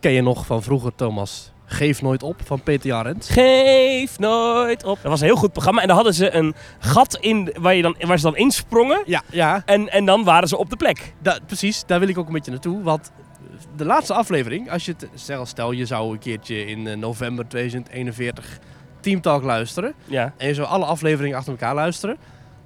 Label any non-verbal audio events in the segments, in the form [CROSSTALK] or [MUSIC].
ken je nog van vroeger, Thomas. Geef nooit op van Peter Jarend. Geef nooit op. Dat was een heel goed programma. En daar hadden ze een gat in waar, je dan, waar ze dan insprongen. Ja, ja En, en dan waren ze op de plek. da- precies. Daar wil ik ook een beetje naartoe. Want eh, de laatste aflevering, als je het, stel, stel je zou een keertje in eh, november 2041 Teamtalk luisteren. Ja. En je zou alle afleveringen achter elkaar luisteren.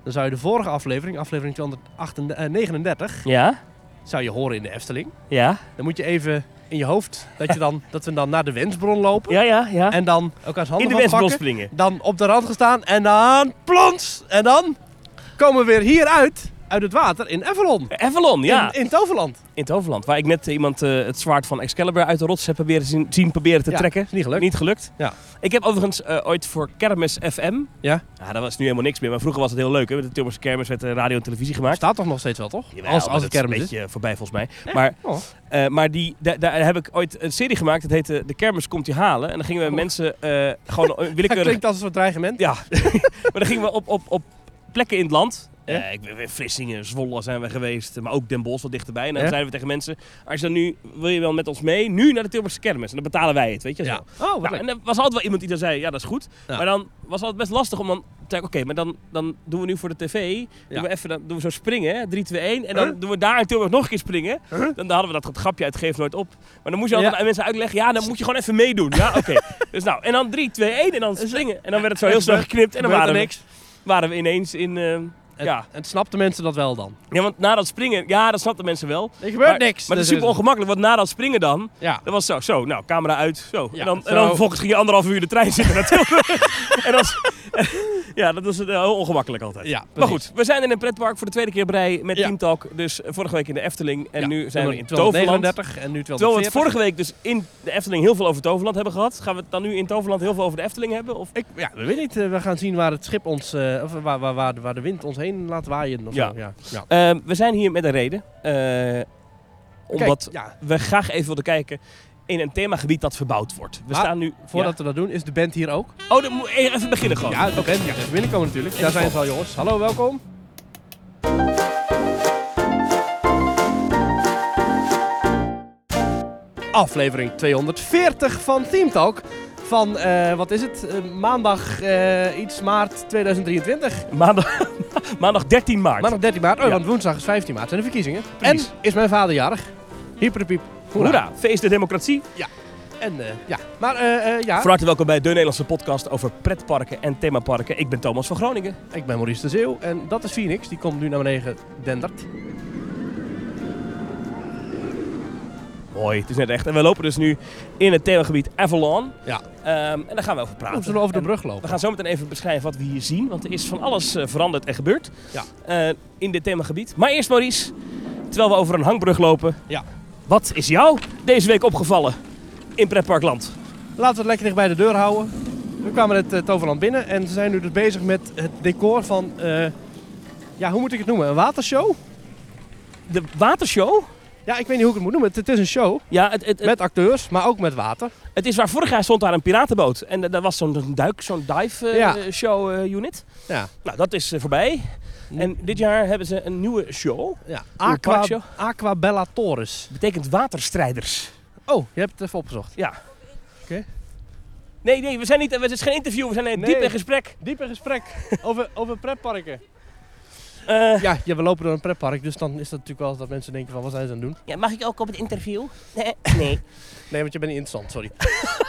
Dan zou je de vorige aflevering, aflevering 239, Ja. zou je horen in de Efteling. Ja. Dan moet je even in je hoofd dat, je dan, [LAUGHS] dat we dan naar de wensbron lopen. Ja, ja, ja. En dan elkaars handen in de vastpakken. Westbron springen. Dan op de rand gestaan en dan plons. En dan komen we weer hieruit, uit het water, in Avalon. Avalon, ja. In, in Toverland. In het Overland, waar ik net iemand eh, het zwaard van Excalibur uit de rots heb proberen zien, zien proberen te Ja, trekken. is niet gelukt. Niet gelukt. Ja. Ik heb overigens eh, ooit voor Kermis FM. Ja. Nou, dat was nu helemaal niks meer, maar vroeger was het heel leuk. Hè? Met de Tilburgse Kermis werd eh, radio en televisie Er gemaakt. staat toch nog steeds wel, toch? Jawel, als maar als het dat is kermis een is. beetje eh, voorbij volgens mij. Maar, Oh. eh, maar die, da- daar heb ik ooit een serie gemaakt. Dat heette De Kermis komt je halen. En dan gingen we Oh. mensen eh, [LAUGHS] gewoon eh, Dat willekeurig klinkt als een soort dreigement. ja, [LAUGHS] maar dan gingen we op, op, op plekken in het land. Ja. Eh, ik ben weer Vlissingen, Zwolle zijn we geweest, maar ook Den Bosch wat dichterbij. En dan Ja. zeiden we tegen mensen, als je dan nu, wil je wel met ons mee, nu naar de Tilburgse kermis. En dan betalen wij het, weet je. Zo. Oh, wat Nou, leuk. en er was altijd wel iemand die dan zei, ja dat is goed. Ja. Maar dan was altijd best lastig om dan te zeggen, oké, maar dan, dan doen we nu voor de tv, Ja. doen, we even, dan doen we zo springen, hè, 3, 2, 1. En dan Huh? doen we daar in Tilburg nog een keer springen. Huh? Dan, dan hadden we dat grapje uit Geef Nooit Op. Maar dan moest je altijd Ja. aan mensen uitleggen, ja dan moet je gewoon even meedoen. Ja, oké. [LAUGHS] dus nou, en dan 3, 2, 1 en dan springen. En dan werd het zo heel snel geknipt en dan Dus, eh, Gebeurt waren er we, niks. waren we ineens in... eh, En, ja. en snapten mensen dat wel dan? ja, want na dat springen, ja dat snapten mensen wel. Er gebeurt Maar- niks. Maar het is Dus super ongemakkelijk, want na dat springen dan, Ja. dat was zo, zo, nou, camera uit, zo. Ja, en, dan, zo. en dan vervolgens ging je anderhalf uur in de trein zitten naar [LAUGHS] Tilburg. en dat is- [LAUGHS] ja, dat was eh, heel ongemakkelijk altijd. ja maar goed, we zijn in een pretpark voor de tweede keer op rij met Ja. Team Talk. Dus eh, vorige week in de Efteling en nu zijn we in Toverland. 239 en nu Terwijl we 240. het vorige week dus in de Efteling heel veel over Toverland hebben gehad. Gaan we het dan nu in Toverland heel veel over de Efteling hebben? Of? Ik, ja, we weten niet. eh, We gaan zien waar het schip ons, eh, of waar, waar, waar, de- waar de wind ons heen laat waaien. Of Ja. zo. ja. ja. Eh, we zijn hier met een reden. Eh, omdat Kijk, ja, we graag even wilden kijken in een themagebied dat verbouwd wordt. We Maar staan nu... voordat we dat doen, is de band hier ook? Ja. Oh, dan moet even beginnen gewoon. Ja, de band. Ja, even binnenkomen natuurlijk. Daar zijn ze al, jongens. Hallo, welkom. Aflevering 240 van Team Talk. Van, eh, wat is het? Eh, maandag eh, iets maart 2023. Maandag, [LAUGHS] maandag 13 maart. Maandag 13 maart. Oh, Ja. want woensdag is 15 maart. Zijn de verkiezingen. Precies. En is mijn vader jarig. Hyperpiep. Hoera. feest de democratie. Ah. En eh, ja. Maar eh, eh, ja, Van harte welkom bij de Nederlandse podcast over pretparken en themaparken. Ik ben Thomas van Groningen. ik ben Maurice de Zeeuw. En dat is Phoenix. Die komt nu naar beneden dendert. Nou, Mooi, het is net echt. En we lopen dus nu in het themagebied Avalon. Ja. Ehm, en daar gaan we over praten. Moeten zullen we over de brug En we lopen? gaan zo meteen even beschrijven wat we hier zien, want er is van alles eh, veranderd en gebeurd Ja. Eh, in dit themagebied. Maar eerst Maurice, terwijl we over een hangbrug lopen. Ja. Wat is jou deze week opgevallen in pretparkland? Laten we het lekker dicht bij de deur houden. We kwamen het eh, Toverland binnen en ze zijn nu dus bezig met het decor van, eh, ja, hoe moet ik het noemen? Een watershow? De watershow? Ja, ik weet niet hoe ik het moet noemen. Het, het is een show Ja, het, het, het, met acteurs, maar ook met water. Het is waar vorig jaar stond daar een piratenboot. En eh, daar was zo'n duik, zo'n dive eh, Ja. eh, show eh, unit. Ja. Nou, dat is eh, voorbij. Hm. En dit jaar hebben ze een nieuwe show. Ja, parkshow. Aqua, Aquabella Torres. Betekent waterstrijders. Oh, je hebt het even opgezocht. Nee, nee, we zijn niet, het is geen interview, we zijn eh, Nee. diep in gesprek. Diepe gesprek [LAUGHS] over, over pretparken. Eh, Ja, ja, we lopen door een pretpark, dus dan is dat natuurlijk wel eens dat mensen denken van, wat zijn ze aan het doen? ja, mag ik ook op het interview? Nee. Nee, want je bent niet interessant, [LAUGHS] sorry. weet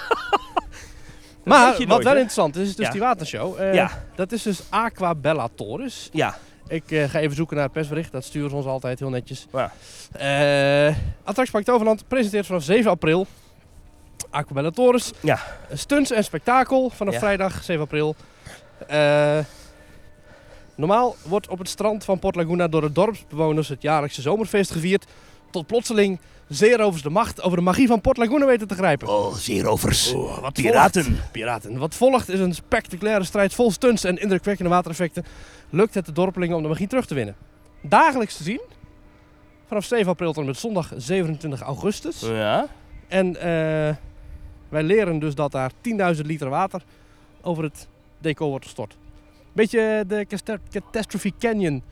maar je wat nooit, wel hè? interessant is, is dus Ja. die watershow. Eh, Ja. Dat is dus Aquabella Torres. Ja, Ik eh, ga even zoeken naar het persbericht. Dat sturen ze ons altijd heel netjes. Ja. Eh, Attractiepark Toverland presenteert vanaf 7 april Aquabella Torres. Ja. Stunts en spektakel vanaf Ja. vrijdag 7 april. Eh, normaal wordt op het strand van Port Laguna door de dorpsbewoners het jaarlijkse zomerfeest gevierd. Tot plotseling zeerovers de macht over de magie van Port Laguna weten te grijpen. oh, zeerovers. wat Piraten. Piraten. Wat volgt is een spectaculaire strijd vol stunts en indrukwekkende watereffecten. Lukt het de dorpelingen om de magie terug te winnen? Dagelijks te zien. Vanaf 7 april tot en met zondag 27 augustus. Ja. En eh, wij leren dus dat daar 10.000 liter water over het decor wordt gestort. Beetje de casta- Catastrophe Canyon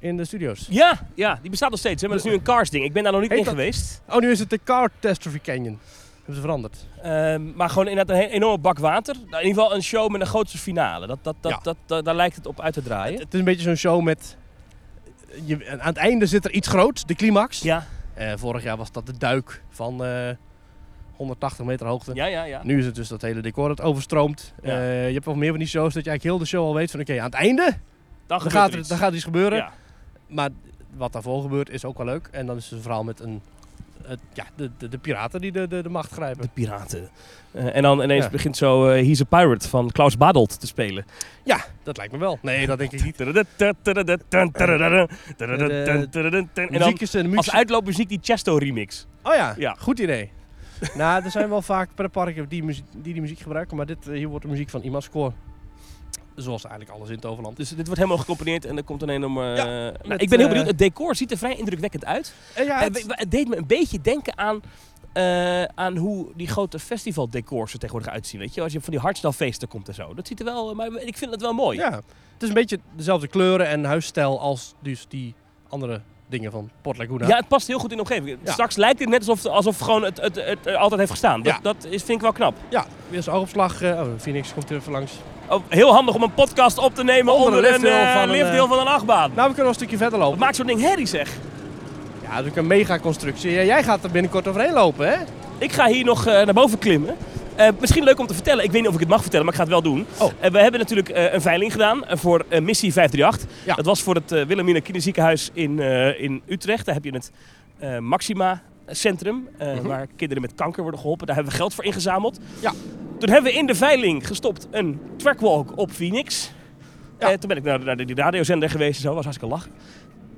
in de studio's. ja, ja, die bestaat nog steeds, hè, maar dat is nu een Cars ding. Ik ben daar nog niet Heet in dat- geweest. Oh, nu is het de Catastrophe Canyon. Hebben ze veranderd. Ehm, maar gewoon inderdaad een he- enorme bak water. Nou, in ieder geval een show met een grootste finale. Dat, dat, dat, Ja. dat, dat- daar lijkt het op uit te draaien. Het is een beetje zo'n show met... Je, aan het einde zit er iets groots, de climax. Ja, Eh, vorig jaar was dat de duik van eh, 180 meter hoogte. ja, ja. ja. Nu is het dus dat hele decor dat overstroomt. Ja. Eh, je hebt wel meer van die shows dat je eigenlijk heel de show al weet van... Oké, aan het einde Dan dan gebeurt gaat, er er, iets. dan gaat iets gebeuren. Ja. Maar wat daarvoor gebeurt is ook wel leuk. En dan is het een verhaal met een, het- ja, de, de, de piraten die de, de, de macht De grijpen. piraten. Eh, en dan ineens Ja. begint zo eh He's a Pirate van Klaus Badelt te spelen. Dat lijkt me wel. Nee, dat denk ik niet. [LAUGHS] En dan Muziek is de muziek. als uitloopmuziek die Chesto remix. Oh ja, Ja. goed idee. [LAUGHS] nou, er zijn wel vaak per parken die muziek, die, die muziek gebruiken. Maar dit, eh, hier wordt de muziek van Imascore. Zoals eigenlijk alles in het overland. Dus dit wordt helemaal gecomponeerd en er komt een enorme... Ja, eh, nou, met, ik ben heel eh, benieuwd, het decor ziet er vrij indrukwekkend uit. Eh, ja, En we- we- het deed me een beetje denken aan, eh, aan hoe die grote festivaldecors er tegenwoordig uitzien. Weet je? Als je van die hardstylefeesten komt en zo. Dat ziet er wel, eh, maar ik vind het wel mooi. ja, het is een beetje dezelfde kleuren en huisstijl als dus die andere dingen van Port Laguna. Ja, het past heel goed in de omgeving. Ja. Straks lijkt het net alsof, alsof gewoon het, het, het, eh, altijd heeft gestaan. Dat, Ja. dat is, vind ik wel knap. Ja, weer eens oogopslag. eh, oh, Phoenix komt er even langs. Oh, heel handig om een podcast op te nemen Onder onder, een een liftdeel eh, van een, liftdeel eh, van een achtbaan. Nou, we kunnen wel een stukje verder Wat lopen. maakt zo'n ding herrie zeg? Ja, dus natuurlijk een megaconstructie. Ja, jij gaat er binnenkort overheen lopen, hè? Ik ga hier nog eh, naar boven klimmen. Eh, misschien leuk om te vertellen. Ik weet niet of ik het mag vertellen, maar ik ga het wel doen. Oh. Eh, we hebben natuurlijk eh, een veiling gedaan eh, voor eh, Missie 538. Ja. Dat was voor het eh Wilhelmina Kinderziekenhuis in, eh, in Utrecht. Daar heb je het eh, Maxima Centrum, eh, Mhm. waar kinderen met kanker worden geholpen. Daar hebben we geld voor ingezameld. Ja. Toen hebben we in de veiling gestopt een trackwalk op Phoenix. Ja. Eh, toen ben ik naar, naar die radiozender geweest en zo. was hartstikke lach.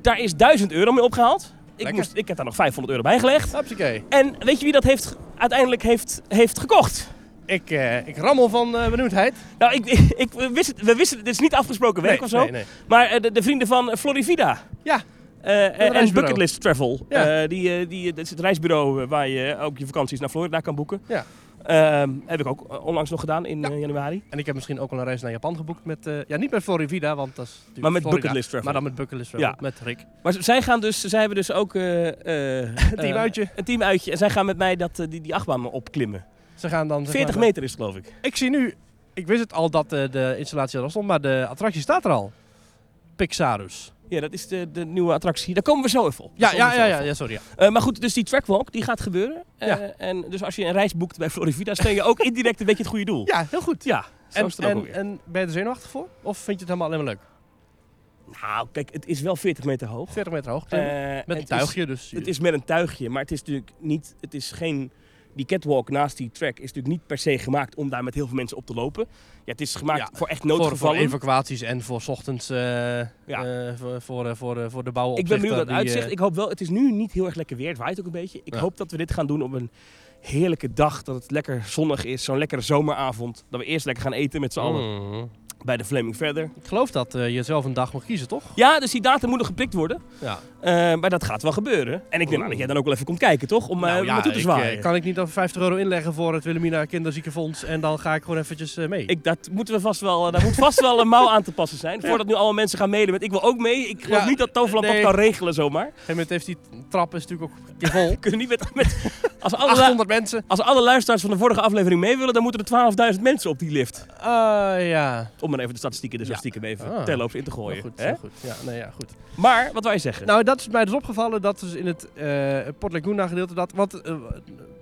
Daar is 1000 euro mee opgehaald. Ik, Lekker. moest, ik heb daar nog 500 euro bij gelegd. Hupsakee. En weet je wie dat heeft, uiteindelijk heeft, heeft gekocht? Ik, eh, ik rammel van eh, benoemdheid. Nou, ik, [LAUGHS] ik, we, wisten, we wisten, dit is niet afgesproken werk Nee, of zo. nee, nee. Maar eh, de, de vrienden van Florivida. Ja. Eh, en- en reisbureau. Bucketlist Travel. Ja. Eh, die, eh, die, dat is het reisbureau eh, waar je ook je vakanties naar Florida kan boeken. Ja. Ehm, heb ik ook eh, onlangs nog gedaan in Ja. eh, januari. En ik heb misschien ook al een reis naar Japan geboekt met... eh, ja, niet met Florivida, want dat is natuurlijk Maar met Florida. Bucketlist Travel. Maar dan met Bucketlist Travel, Ja. met Rick. Maar z- zij gaan dus, zij hebben dus ook eh, eh, [LAUGHS] Team eh, uitje. een teamuitje. En zij gaan met mij dat, eh, die, die achtbaan opklimmen. Ze gaan dan... zeg 40 maar- meter is het, geloof ik. Ik zie nu... Ik wist het al dat eh, de installatie er al stond, maar de attractie staat er al. Pixarus. Ja, dat is de, de nieuwe attractie. Daar komen we zo even op. Ja, Daar komen ja, we ja, ja, zo even op. ja, sorry. Ja. Eh, maar goed, dus die trackwalk, die gaat gebeuren. Eh, Ja. En dus als je een reis boekt bij Florivida, steun je ook indirect een beetje het goede doel. Ja, heel goed. Ja, zo En, is het er ook en, alweer. en ben je er zenuwachtig voor? Of vind je het helemaal alleen maar leuk? Nou, kijk, het is wel 40 meter hoog. 40 meter hoog. Eh, klimmen. het met een tuigje, dus... Is, het is met een tuigje, maar het is natuurlijk niet, het is geen, die catwalk naast die track is natuurlijk niet per se gemaakt om daar met heel veel mensen op te lopen. Ja, het is gemaakt Ja, voor echt Voor, voor noodgevallen. evacuaties en voor 's ochtends eh, eh, voor, voor, eh, voor, eh, voor de eh, bouw. ik ben benieuwd naar het uitzicht. Ik hoop wel, het is nu niet heel erg lekker weer, het waait ook een beetje. Ik Ja. hoop dat we dit gaan doen op een heerlijke dag, dat het lekker zonnig is, zo'n lekkere zomeravond. Dat we eerst lekker gaan eten Mm. met z'n allen bij de Flaming Verder. Ik geloof dat eh, je zelf een dag mag kiezen, toch? Ja, dus die datum moet nog geprikt worden. Ja. Eh, maar dat gaat wel gebeuren. En ik neem aan dat jij dan ook wel even komt kijken, toch? Om eh Nou me ja, naartoe te ik, zwaaien. eh, kan ik niet dan 50 euro inleggen voor het Wilhelmina Kinderziekenfonds en dan ga ik gewoon eventjes eh, mee. Ik, dat moeten we vast wel, eh, daar moet vast wel een mouw aan te passen [LAUGHS] zijn. Voordat nu allemaal mensen gaan mailen met ik wil ook mee. Ik geloof Ja, niet dat Toverland nee. dat kan regelen zomaar. Op een gegeven moment heeft die trap is natuurlijk ook een keer [LAUGHS] vol. We kunnen niet met... met als, alle, lu- 800 mensen. als alle luisteraars van de vorige aflevering mee willen, dan moeten er 12.000 mensen op die lift. Ah ja. Om maar even de statistieken dus Ja. ja. stiekem even Ah. terloops in te gooien. Maar goed, hè? heel goed. Ja, nee, ja, goed. Maar, wat wij zeggen. Nou, dat is mij dus opgevallen. Dat is in het eh Port Laguna gedeelte. Dat, want eh,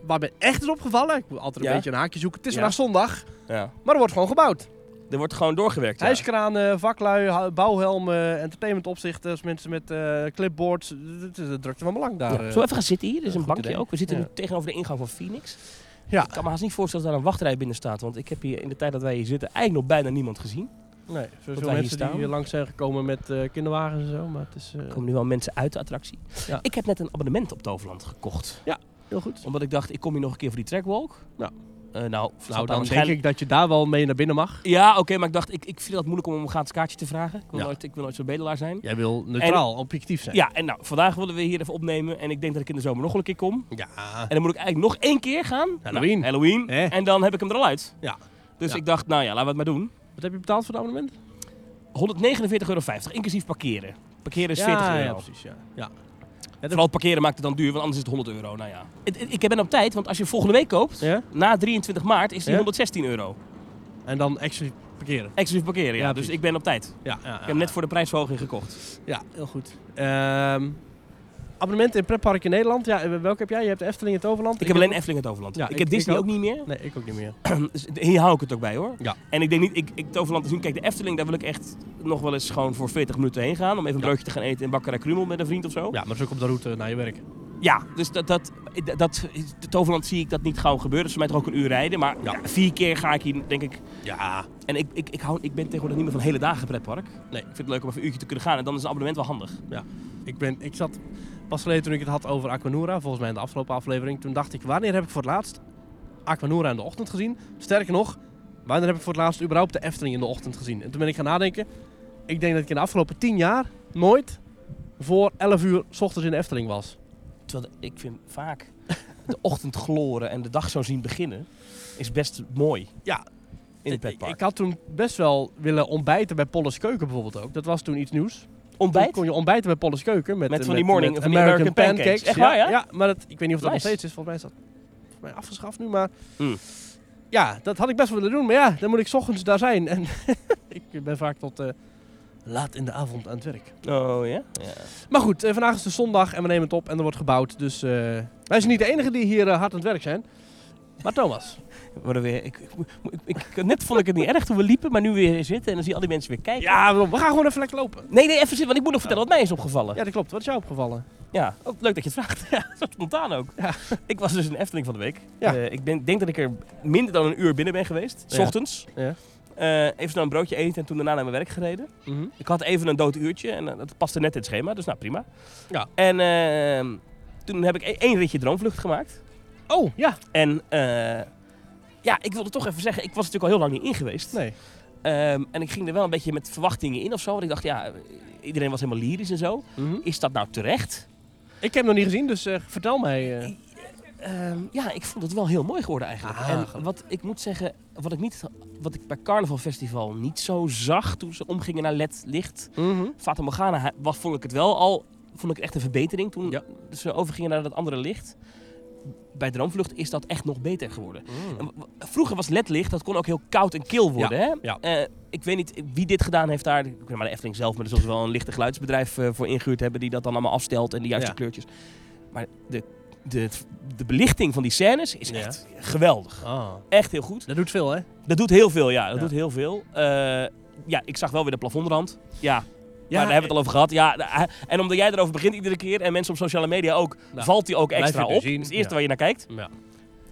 waar mij echt is opgevallen. Ik moet altijd een Ja. beetje een haakje zoeken. Het is Ja. vandaag zondag, ja. maar er wordt gewoon gebouwd. Er wordt gewoon doorgewerkt. ja. Hijskranen, vaklui, ha- bouwhelmen, entertainmentopzichters, mensen met eh, clipboards. Het is de drukte van belang daar. eh. Ja. Zullen we even gaan zitten hier? Er is Goed een bankje idee. ook. We zitten Ja. nu tegenover de ingang van Phoenix. Ja. Ik kan me haast niet voorstellen dat daar een wachtrij binnen staat. Want ik heb hier in de tijd dat wij hier zitten eigenlijk nog bijna niemand gezien. Nee, veel wij hier mensen die staan. hier langs zijn gekomen met eh, kinderwagens en zo, maar het is eh, Er komen nu wel mensen uit de attractie. Ja. Ik heb net een abonnement op Toverland gekocht. heel goed. Omdat ik dacht, ik kom hier nog een keer voor die trackwalk. Ja. Eh, nou, Nou, staat daar dan denk waarschijnlijk- ik dat je daar wel mee naar binnen mag. Ja, oké, maar ik dacht, ik, ik vind dat moeilijk om om een gratis kaartje te vragen. Ik wil, Ja. nooit, ik wil nooit zo'n bedelaar zijn. Jij wil neutraal, objectief zijn. Ja, en nou, vandaag willen we hier even opnemen. En ik denk dat ik in de zomer nog wel een keer kom. Ja. En dan moet ik eigenlijk nog één keer gaan. Halloween. Nou, Halloween. Hè? En dan heb ik hem er al uit. Ja. Dus Ja. ik dacht, nou ja, laten we het maar doen. Wat heb je betaald voor het abonnement? 149,50 euro, inclusief parkeren. Parkeren is 40 euro. precies. Ja. Ja. dat- Vooral parkeren maakt het dan duur, want anders is het 100 euro. Nou ja. Het- het- Ik ben op tijd, want als je volgende week koopt, Ja? na 23 maart, is die Ja? 116 euro. En dan extra parkeren. Exclusief parkeren, ja. Ja, dus precies. ik ben op tijd. Ik Ja, ja, ja. heb hem net voor de prijsverhoging gekocht. Ja, heel goed. Ehm, abonnementen in pretparken in Nederland. Ja, en welke heb jij? Je hebt de Efteling in het Overland. Ik heb alleen Efteling het Overland. Ja, ik, ik- heb ik Disney ook. ook niet meer. Nee, ik ook niet meer. Dus hier hou ik het ook bij hoor. Ja. En ik denk niet, ik, ik het Overland te zien. Kijk, de Efteling, daar wil ik echt nog wel eens gewoon voor 40 minuten heen gaan. Om even een Ja. broodje te gaan eten in Bakkerij Krumel met een vriend of zo. Ja, maar dat is ook op de route naar je werk. Ja, dus dat, dat, dat, is- het Toverland zie ik dat niet gauw gebeuren. Dat is voor mij toch ook een uur rijden. Maar Ja. ja, vier keer ga ik hier, denk ik. Ja. En ik, ik, ik, hou, ik ben tegenwoordig niet meer van hele dagen pretpark. Nee. Ik vind het leuk om even een uurtje te kunnen gaan. En dan is een abonnement wel handig. Ik, ben, ik zat pas geleden toen ik het had over Aquanura, volgens mij in de afgelopen aflevering. Toen dacht ik, wanneer heb ik voor het laatst Aquanura in de ochtend gezien? Sterker nog, wanneer heb ik voor het laatst überhaupt de Efteling in de ochtend gezien? En toen ben ik gaan nadenken. Ik denk dat ik in de afgelopen tien jaar nooit voor 11 uur 's ochtends in de Efteling was. Terwijl de- ik vind vaak de ochtendgloren en de dag zo zien beginnen is best mooi. Ja. In het Ik- pretpark. Ik had toen best wel willen ontbijten bij Polles Keuken bijvoorbeeld ook. Dat was toen iets nieuws. Toen Ontbijt? kon je ontbijten bij Polles Keuken. Met, Met van eh, die morning- van die American pancakes. Echt waar, ja? ja, maar dat, ik weet niet of dat Nice. nog steeds is. Volgens mij is dat volgens mij afgeschaft nu, maar... Mm. Ja, dat had ik best wel willen doen. Maar ja, dan moet ik 's ochtends daar zijn. En [LAUGHS] ik ben vaak tot eh, laat in de avond aan het werk. Oh ja? ja. Maar goed, eh, vandaag is de zondag en we nemen het op en er wordt gebouwd. Dus eh, wij zijn niet de enigen die hier eh, hard aan het werk zijn. Maar Thomas. We worden weer, ik, ik, ik, ik- net vond ik het niet erg toen we liepen, maar nu weer zitten en dan zie je al die mensen weer kijken. ja, waarom? we gaan gewoon even lekker lopen. Nee, nee, even zitten, want ik moet nog vertellen wat mij is opgevallen. Ja, dat klopt. Wat is jou opgevallen? Ja, ook leuk dat je het vraagt. [LAUGHS] Ja, zo spontaan ook. Ja. Ik was dus in de Efteling van de week. Ja. Eh, ik ben, denk dat ik er minder dan een uur binnen ben geweest. S Ja. ochtends. Ja. Eh, even snel een broodje eten en toen daarna naar mijn werk gereden. Ik had even een dood uurtje en eh, dat paste net in het schema, dus nou prima. Ja. En ehm, toen heb ik e- één ritje droomvlucht gemaakt. Oh, ja. En eh, ja, ik wilde toch even zeggen, ik was natuurlijk al heel lang niet in geweest. Nee. Ehm, en ik ging er wel een beetje met verwachtingen in of zo. Want ik dacht, ja, iedereen was helemaal lyrisch en zo. Is dat nou terecht? Ik heb hem nog niet gezien, dus eh, vertel mij. eh. Ehm, ja, ik vond het wel heel mooi geworden eigenlijk. Ah, en gelukkig. wat ik moet zeggen, wat ik, niet, wat ik bij Carnaval Festival niet zo zag toen ze omgingen naar LED licht. Fata Morgana ha- was, vond ik het wel al, vond ik echt een verbetering toen Ja. ze overgingen naar dat andere licht. Bij Droomvlucht is dat echt nog beter geworden. En w- w- Vroeger was ledlicht, dat kon ook heel koud en kil worden. hè? ja. Eh, ik weet niet wie dit gedaan heeft daar. Ik weet maar de Efteling zelf, maar er zullen wel een lichte geluidsbedrijf eh, voor ingehuurd hebben die dat dan allemaal afstelt en de juiste Ja. kleurtjes. Maar de, de, de belichting van die scènes is Ja. echt geweldig. Ah. Echt heel goed. Dat doet veel, hè? Dat doet heel veel, ja. Dat Ja. doet heel veel. Eh, ja, ik zag wel weer de plafondrand. Ja, Ja, eh, maar daar hebben we het al over gehad. Ja, da- en omdat jij erover begint iedere keer en mensen op sociale media ook, Nou, valt die ook blijf extra je op. het Dat nu zien. is het eerste Ja. waar je naar kijkt. Ja.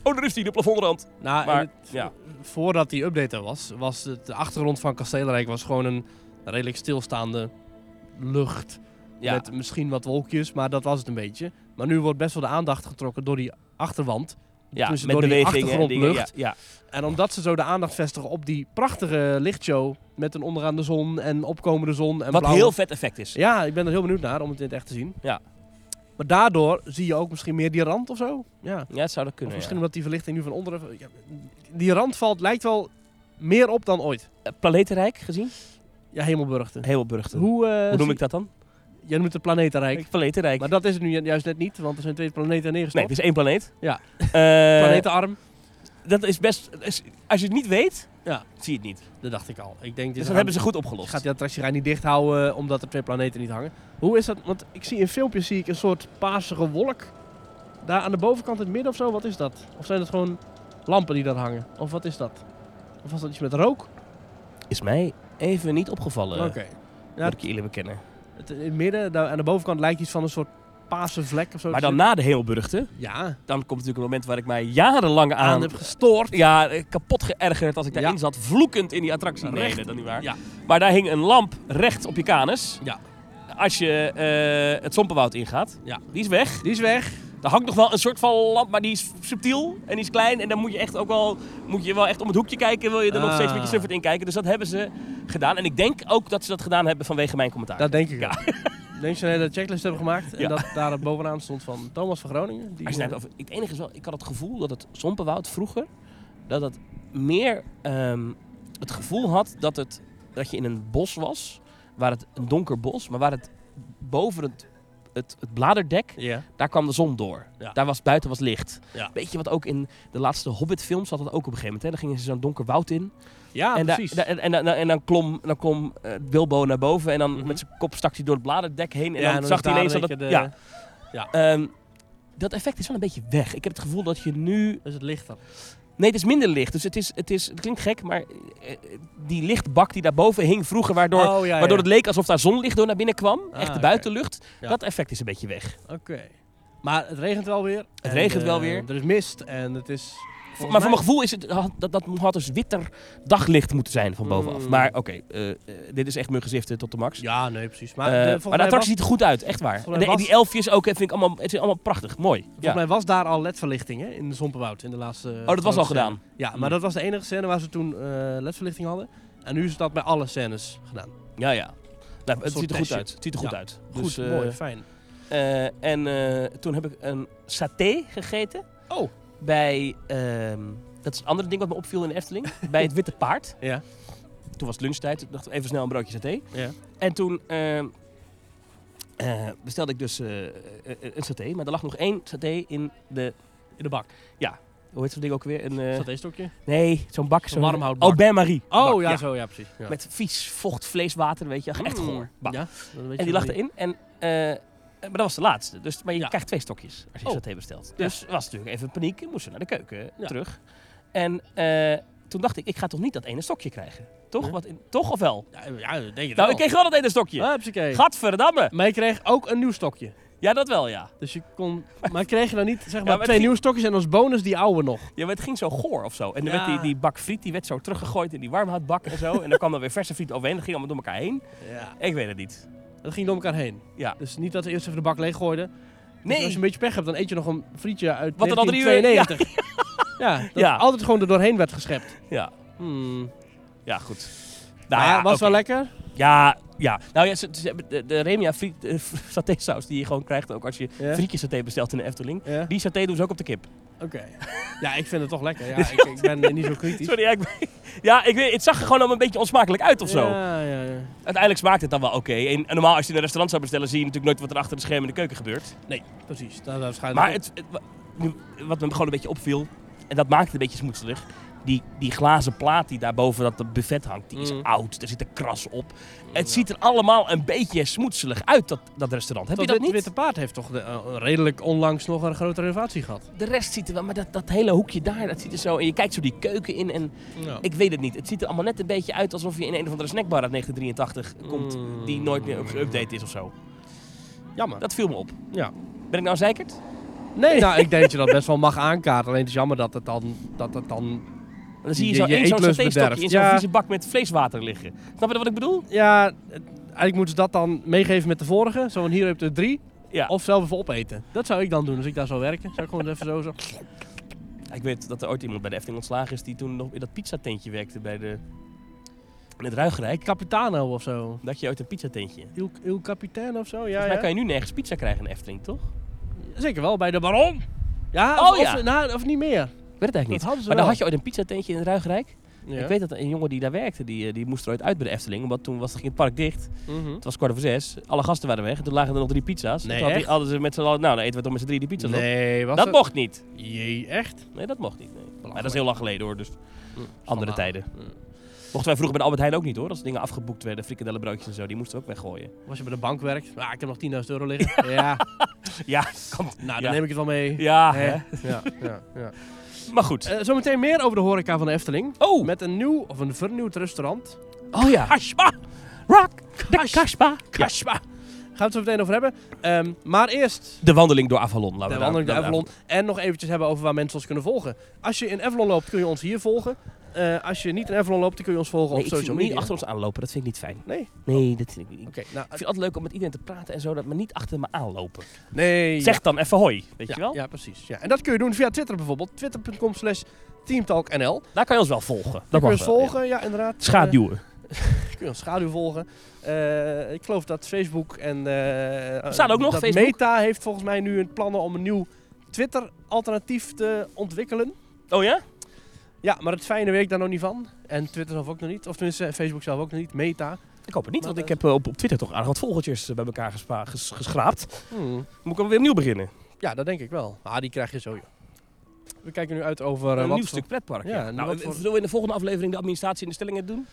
Oh, daar is die, de plafondrand. Nou, Maar, en het- ja. voordat die update er was, was het, de achtergrond van Kasteelrijk was gewoon een redelijk stilstaande lucht. Ja. Met misschien wat wolkjes, maar dat was het een beetje. Maar nu wordt best wel de aandacht getrokken door die achterwand. Ja, tussen met door die bewegingen en dingen, achtergrondlucht. Ja, ja. En omdat ze zo de aandacht vestigen op die prachtige lichtshow met een onderaan de zon en opkomende zon en Wat blauwe... heel vet effect is. Ja, ik ben er heel benieuwd naar om het in het echt te zien. Ja. Maar daardoor zie je ook misschien meer die rand of zo. Ja. Ja, het zou dat Of kunnen. misschien omdat die verlichting nu van onderen... ja, die rand valt, lijkt wel meer op dan ooit. ja. Planetenrijk gezien? Ja, Hemelburgten. Hemelburgten. Hoe, Hoe, eh, noem zie- ik dat dan? Jij noemt het planetenrijk. Planetenrijk. Maar dat is het nu ju- juist net niet, want er zijn twee planeten nee, neergestort. het is één planeet. Ja. [LAUGHS] Eh, Planetenarm. Dat is best... is- Als je het niet weet, Ja. zie je het niet. Dus Dat dacht ik al. Ik denk, dit dat hebben ze goed opgelost. Gaat die attractie ga je niet dicht houden eh, omdat er twee planeten niet hangen. Hoe is dat? Want ik zie in filmpjes zie ik een soort paarsige wolk. Daar aan de bovenkant in het midden of zo, wat is dat? Of zijn het gewoon lampen die daar hangen? Of wat is dat? Of was dat iets met rook? Is mij even niet opgevallen. Oké. Moet ik je eerlijk bekennen. Het, in het midden, daar, aan de bovenkant lijkt iets van een soort paarse vlek of zo. Maar dan na de Hemelburgten, Ja, dan komt natuurlijk een moment waar ik mij jarenlang aan... aan heb gestoord. ja, eh, kapot geërgerd als ik Ja. daarin zat. Vloekend in die attractie. Nee, Recht. dat is niet waar. Ja. Maar daar hing een lamp recht op je kanus. Ja. Als je eh, het Sompenwoud ingaat. Ja. Die is weg. Die is weg. Daar hangt nog wel een soort van lamp, maar die is subtiel en die is klein. En dan moet je echt ook wel, moet je wel echt om het hoekje kijken. Wil je er nog steeds met je Ah. snuffert in kijken. Dus dat hebben ze gedaan. En ik denk ook dat ze dat gedaan hebben vanwege mijn commentaar. Dat denk ik Ja. ja. Ik [LAUGHS] denk ze een hele checklist hebben gemaakt. En Ja. dat daar bovenaan stond van Thomas van Groningen. Die, Als je het, eh, hebt over, het enige is wel, ik had het gevoel dat het Sompenwoud vroeger, dat het meer ehm, het gevoel had dat, het, dat je in een bos was, waar het een donker bos, maar waar het boven het het, het bladerdek, Ja. daar kwam de zon door. Ja. Daar was buiten was licht. Ja. Weet je wat ook in de laatste Hobbit-films had dat ook op een gegeven moment. Hè? Dan gingen ze zo'n donker woud in. Ja, en, daar- Ah, precies. daar- en, en, en, dan klom, dan klom eh, Bilbo naar boven en dan Mhm. met zijn kop stak hij door het bladerdek heen. En Ja, dan, is zag hij daar ineens dat een het... beetje Ja, de- ehm, dat effect is wel een beetje weg. Ik heb het gevoel dat je nu... Is het lichter? Nee, het is minder licht. Dus het, is, het, is, het klinkt gek, maar eh, die lichtbak die daarboven hing vroeger... waardoor, oh, ja, ja. waardoor het leek alsof daar zonlicht door naar binnen kwam. Ah, echt de oké. buitenlucht. Ja. Dat effect is een beetje weg. Oké. Maar het regent wel weer. Het regent eh, wel weer. Er is mist en het is... maar volgens voor mijn mij- gevoel is het, had, dat, dat had dus witter daglicht moeten zijn van bovenaf. Mm. Maar oké, eh, eh, dit is echt muggenziften tot de max. Ja, nee, precies. Maar, Maar, eh, de, volgens maar de mij attractie was- ziet er goed uit, echt waar. Volgens mij En de- was- die elfjes ook, eh, vind ik allemaal, het is allemaal prachtig, mooi. Ja. Volgens mij was daar al ledverlichting hè, in de Zompenwoud in de laatste. Oh, dat was al gedaan. Ja, maar Mm. dat was de enige scène waar ze toen eh ledverlichting hadden. En nu is dat bij alle scènes gedaan. Ja, ja. Nou, het soort ziet er goed testje. uit. Het ziet er goed Ja. uit. Goed, Dus, eh, mooi, fijn. eh, en eh, toen heb ik een saté gegeten Oh, bij, ehm, dat is een andere ding wat me opviel in [LAUGHS] de Efteling, bij het Witte Paard. ja. Toen was het lunchtijd, ik dacht even snel een broodje saté. ja. En toen ehm, eh, bestelde ik dus eh, eh, eh, een saté, maar er lag nog één saté in de, In de bak. hoe heet zo'n ding ook weer? Een, eh, Is dat één stokje? nee, zo'n bak. Zo'n Zo'n warmhoutbak. Oh, bain-marie. Oh, Bak, ja, zo, ja, precies. Ja. Met vies vocht vleeswater, weet je. Echt Mm. goor. Bah. Ja, dan weet En je die lag wel erin. En, eh, eh, maar dat was de laatste. Dus, maar je Ja. krijgt twee stokjes als je Oh. saté bestelt. Ja. Dus was natuurlijk even paniek. en Moesten we naar de keuken Ja. terug. En eh, toen dacht ik, ik ga toch niet dat ene stokje krijgen? Toch? Ja. Wat in- toch of wel? Ja, ja, dat denk je Nou, ik kreeg wel dat ene stokje. kreeg... Gadverdamme. Maar je kreeg ook een nieuw stokje. Ja, dat wel, ja. Dus je [LAUGHS] kon... Maar kreeg je dan niet, zeg maar, maar het twee ging- nieuwe stokjes en als bonus die oude nog? Ja, maar het ging zo goor of zo. En dan Ja. werd die, die bak friet, die werd zo teruggegooid in die warmhoutbak en zo. en dan kwam er weer verse friet overheen. Dat ging allemaal door elkaar heen. Ja. Ik weet het niet. Dat ging door elkaar heen. Ja. Dus niet dat ze eerst even de bak leeg gooiden. Dus Nee. als je een beetje pech hebt, dan eet je nog een frietje uit Wat er al drie uur- 1992. Ja, dat Ja. altijd gewoon er doorheen werd geschept. Ja. Hmm. Ja, goed. Maar Nou, ja, was oké. wel lekker. Ja, ja. Nou ja, ze, ze hebben de, de Remia friet, eh, satésaus die je gewoon krijgt ook als je Ja. frietje saté bestelt in de Efteling. Ja, Die saté doen ze ook op de kip. Oké. Ja, ik vind het toch lekker. [LAUGHS] Ja, ik, ik ben niet zo kritisch. Sorry, ja, ik, ben- ja, ik weet, het zag er gewoon allemaal een beetje onsmakelijk uit of zo. Ja, ja, ja. Uiteindelijk smaakt het dan wel oké. En, en normaal als je in een restaurant zou bestellen, zie je natuurlijk nooit wat er achter de schermen in de keuken gebeurt. Nee, precies. Dat, dat schijnt Maar het, het- wa- nu- wat me gewoon een beetje opviel, en dat maakt het een beetje smoetselig. Die, die glazen plaat die daarboven dat buffet hangt, die is Mm. oud. Er zit een kras op. Het Ja. ziet er allemaal een beetje smoetselig uit, dat, dat restaurant. Heb dat je dat Wit- niet? Witte Paard heeft toch de- eh, redelijk onlangs nog een grote renovatie gehad. De rest ziet er wel, maar dat, dat hele hoekje daar, dat ziet er zo. En je kijkt zo die keuken in en ik weet het niet. Het ziet er allemaal net een beetje uit alsof je in een of andere snackbar uit 1983 komt. Mm. Die nooit meer geüpdate is of zo. Jammer. Dat viel me op. Ja. Ben ik nou zeikerd? Nee, nou, ik denk dat je dat best wel mag aankaarten. Alleen het is jammer dat het dan... Dat het dan Want Dan zie je, Je- zo je één zo'n eetlust satéstokje bederft. in zo'n Ja. vieze bak met vleeswater liggen. Snap je wat ik bedoel? ja, het- eigenlijk moeten ze dat dan meegeven met de vorige. Zo van, hier heb je er drie. Ja. Of zelf even opeten. Dat zou ik dan doen als ik daar zou werken. Zou ik gewoon even zo... zo. [LAUGHS] Ik weet dat er ooit iemand bij de Efteling ontslagen is die toen nog in dat pizzatentje werkte bij de... In het Ruigrijk. Capitano of zo. Dat je ooit een pizzatentje. Il, il Capitano of zo, ja. Volgens mij ja. kan je nu nergens pizza krijgen in de Efteling, toch? Ik Zeker wel, bij de Baron. Ja, Oh, of, ja. Of, nou, of niet meer. weet het eigenlijk Dat niet. hadden ze Maar dan wel. had je ooit een pizzatentje in het Ruigrijk. Ja. Ik weet dat een jongen die daar werkte, die, eh, die moest er ooit uit bij de Efteling. Omdat toen was, ging het park dicht. Mhm. Het was kwart over zes. Alle gasten waren weg. En toen lagen er nog drie pizza's. Nee, toen had die- echt? hadden ze met z'n allen, nou dan eten we toch met z'n drie die pizza's op. Nee, was Dat het? mocht niet. Jee, echt? Nee, dat mocht niet. Nee. Maar dat is Belachelijk. Mm, heel lang geleden hoor. Dus andere Schandaal. tijden. Mochten wij vroeger bij de Albert Heijn ook niet hoor. Als dingen afgeboekt werden, frikandellenbroodjes en zo, die moesten we ook weggooien. Als je bij de bank werkt, ah, ik heb nog 10.000 euro [LAUGHS] liggen. ja, Ja, [LAUGHS] kan. nou, dan Ja. neem ik het wel mee. Ja, Hè? hè. ja, ja, ja. Maar goed. Eh, zometeen meer over de horeca van de Efteling. oh, Met een nieuw of een vernieuwd restaurant. oh ja. Kaspa! Rock, Kas- Kaspa. Ja. Kaspa! Gaan we het zo meteen over hebben. Ehm, maar eerst De wandeling door Avalon. laten we de daar- wandeling naar laten we Avalon. En nog eventjes hebben over waar mensen ons kunnen volgen. Als je in Avalon loopt, kun je ons hier volgen. Eh, als je niet in Avalon loopt, dan kun je ons volgen daar- Nee, op ik vind social hem niet media. achter ons aanlopen. Dat vind ik niet fijn. Nee? Nee, dat vind ik niet. Oké, nou... eh, Ik vind het altijd leuk om met iedereen te praten en zo, dat maar niet achter me aanlopen. Nee. Zeg dan even hoi, weet ja, je wel? Ja, precies. Ja. En dat kun je doen via Twitter bijvoorbeeld. Twitter.com slash teamtalknl. Daar kan je ons wel volgen. Daar Dat kun mag je ons wel, ja. volgen, ja, inderdaad. Schaduwen. Eh, kun je ons schaduw volgen. Eh, ik geloof dat Facebook en... eh Staan ook nog dat Facebook? Meta heeft volgens mij nu een plannen om een nieuw Twitter-alternatief te ontwikkelen. Oh ja? Ja, maar het fijne weet ik daar nog niet van. En Twitter zelf ook nog niet. Of tenminste, eh, Facebook zelf ook nog niet. Meta. Ik hoop het niet, Maar want ik dat- heb eh, op, op Twitter toch aardig wat volgeltjes eh, bij elkaar gespa- ges- geschraapt. Moet ik alweer opnieuw beginnen? Ja, dat denk ik wel. Ah, die krijg je zo, joh. We kijken nu uit over eh, een wat nieuw voor- stuk pretpark. Ja, Ja, en Nou, wat eh, voor- Zullen we in de volgende aflevering de administratie en de stellingen doen?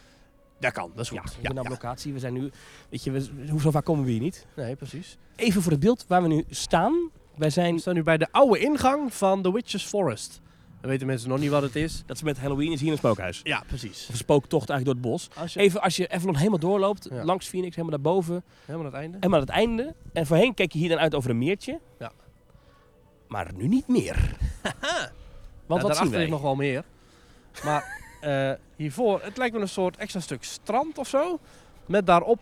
Dat kan, dat is Ja, goed. we zijn op locatie. We zijn nu, weet je, we, hoe zo vaak komen we hier niet? Nee, precies. Even voor het beeld waar we nu staan. Wij We zijn, staan nu bij de oude ingang van The Witches Forest. Dan weten mensen nog niet wat het is. dat is met Halloween, is hier een spookhuis. Ja, precies. Of een spooktocht eigenlijk door het bos. Als je, Even als je Avalon helemaal doorloopt, Ja. langs Phoenix, helemaal naar boven, helemaal aan het einde. helemaal aan het einde. En voorheen kijk je hier dan uit over een meertje. Ja. Maar nu niet meer. Want Nou, wat zien daarachter wij? is nog wel meer. Maar [LAUGHS] eh, hiervoor, het lijkt wel een soort extra stuk strand of zo. Met daarop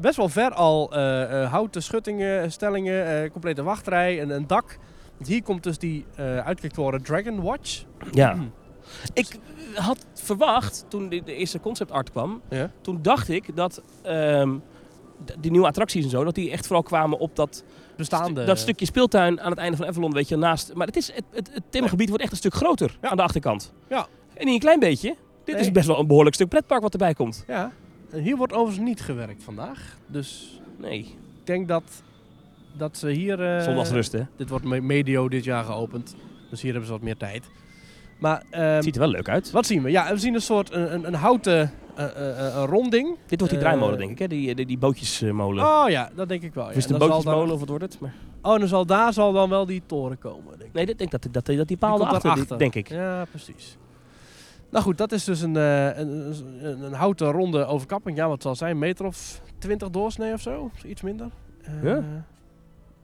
best wel ver al eh, eh, houten schuttingen, stellingen, eh, complete wachtrij en een dak. Want hier komt dus die eh uitkijktoren Dragon Watch. Ja. [CLEARS THROAT] Ik had verwacht, toen de, de eerste concept art kwam, Ja. toen dacht ik dat ehm, d- die nieuwe attracties en zo, dat die echt vooral kwamen op dat, Bestaande. stu- dat stukje speeltuin aan het einde van Avalon, weet je, naast. Maar het, is, het, het, het themagebied wordt echt een stuk groter Ja. aan de achterkant. Ja. En niet een klein beetje. Dit Nee. is best wel een behoorlijk stuk pretpark wat erbij komt. Ja. En hier wordt overigens niet gewerkt vandaag. Dus Nee, ik denk dat, dat ze hier... eh, zondagsrust hè. Dit wordt me- medio dit jaar geopend. Dus hier hebben ze wat meer tijd. Maar Het ehm ziet er wel leuk uit. Wat zien we? Ja, we zien een soort een, een, een houten eh, eh, eh, een ronding. Dit wordt die eh, draaimolen denk ik hè, die, die, die bootjesmolen. Oh ja, dat denk ik wel. Ja. of is het En dan een zal bootjesmolen of wat wordt het? Maar... daar- oh, dan zal daar zal dan wel die toren komen, denk ik. Nee, dit, denk dat, dat, dat, dat die paal komt erachter, daarachter. die- denk ik. Ja, precies. Nou goed, dat is dus een, eh, een, een, een houten ronde overkapping. Ja, wat het zal zijn? Een meter of 20 doorsnee of zo? Iets minder. Eh, Ja.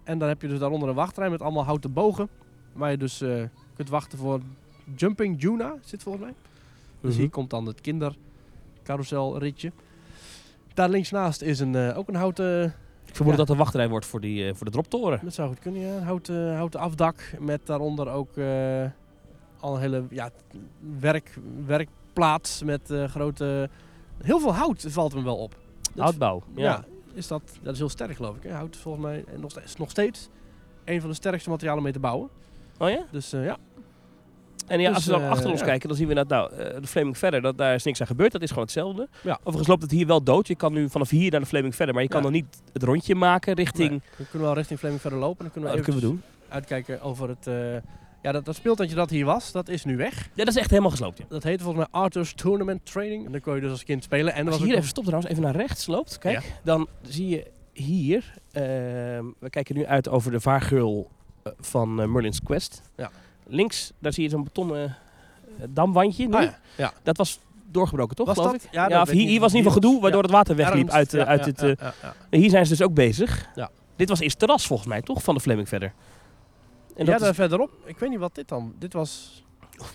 En dan heb je dus daaronder een wachtrij met allemaal houten bogen. Waar je dus eh, kunt wachten voor Jumping Juna, zit volgens mij. Mhm. Dus hier komt dan het kindercarouselritje. Daar linksnaast is een, eh, ook een houten, Ik vermoed Ja. dat dat de wachtrij wordt voor, die, eh, voor de droptoren. dat zou goed kunnen, ja, een houten, houten afdak. Met daaronder ook eh, al een hele ja, werk, werkplaats met eh, grote... Heel veel hout valt me wel op. Dat- Houtbouw. Ja. ja. is dat, dat is heel sterk geloof ik. Hè? Hout is volgens mij en nog steeds, nog steeds een van de sterkste materialen om mee te bouwen. Oh ja? Dus eh, ja, En ja, Dus, als we dan eh, achter ons ja. kijken, dan zien we dat nou, eh, de Flaming verder, dat, daar is niks aan gebeurd. Dat is gewoon hetzelfde. Ja. Overigens loopt het hier wel dood. Je kan nu vanaf hier naar de Flaming verder, maar je kan Ja. dan niet het rondje maken richting... Nee. we kunnen wel richting Fleming verder lopen. Dan kunnen Oh, we dat kunnen we doen. uitkijken over het... eh, ja, dat, dat speeltuintje dat hier was, dat is nu weg. Ja, dat is echt helemaal gesloopt. Ja. Dat heette volgens mij Arthur's Tournament Training. En dan kon je dus als kind spelen. En er Als was je ook hier even nog- stopt trouwens, even naar rechts loopt, kijk, dan zie je hier, ehm, we kijken nu uit over de vaargeul eh, van eh, Merlin's Quest. Ja. Links, daar zie je zo'n betonnen eh, damwandje nu. Ah, ja. ja. Dat was doorgebroken, toch? Was geloof dat? Ik? Ja, Ja, dat of weet hier, ik niet hier was in ieder of geval hier gedoe, was- waardoor het water wegliep Ernst, uit, eh, ja, uit ja, het... ja, eh, ja, ja. Hier zijn ze dus ook bezig. Ja. Dit was eerst terras volgens mij, toch? Van de Fleming verder. En ja, dat daar is verderop. Ik weet niet wat dit dan. Dit was.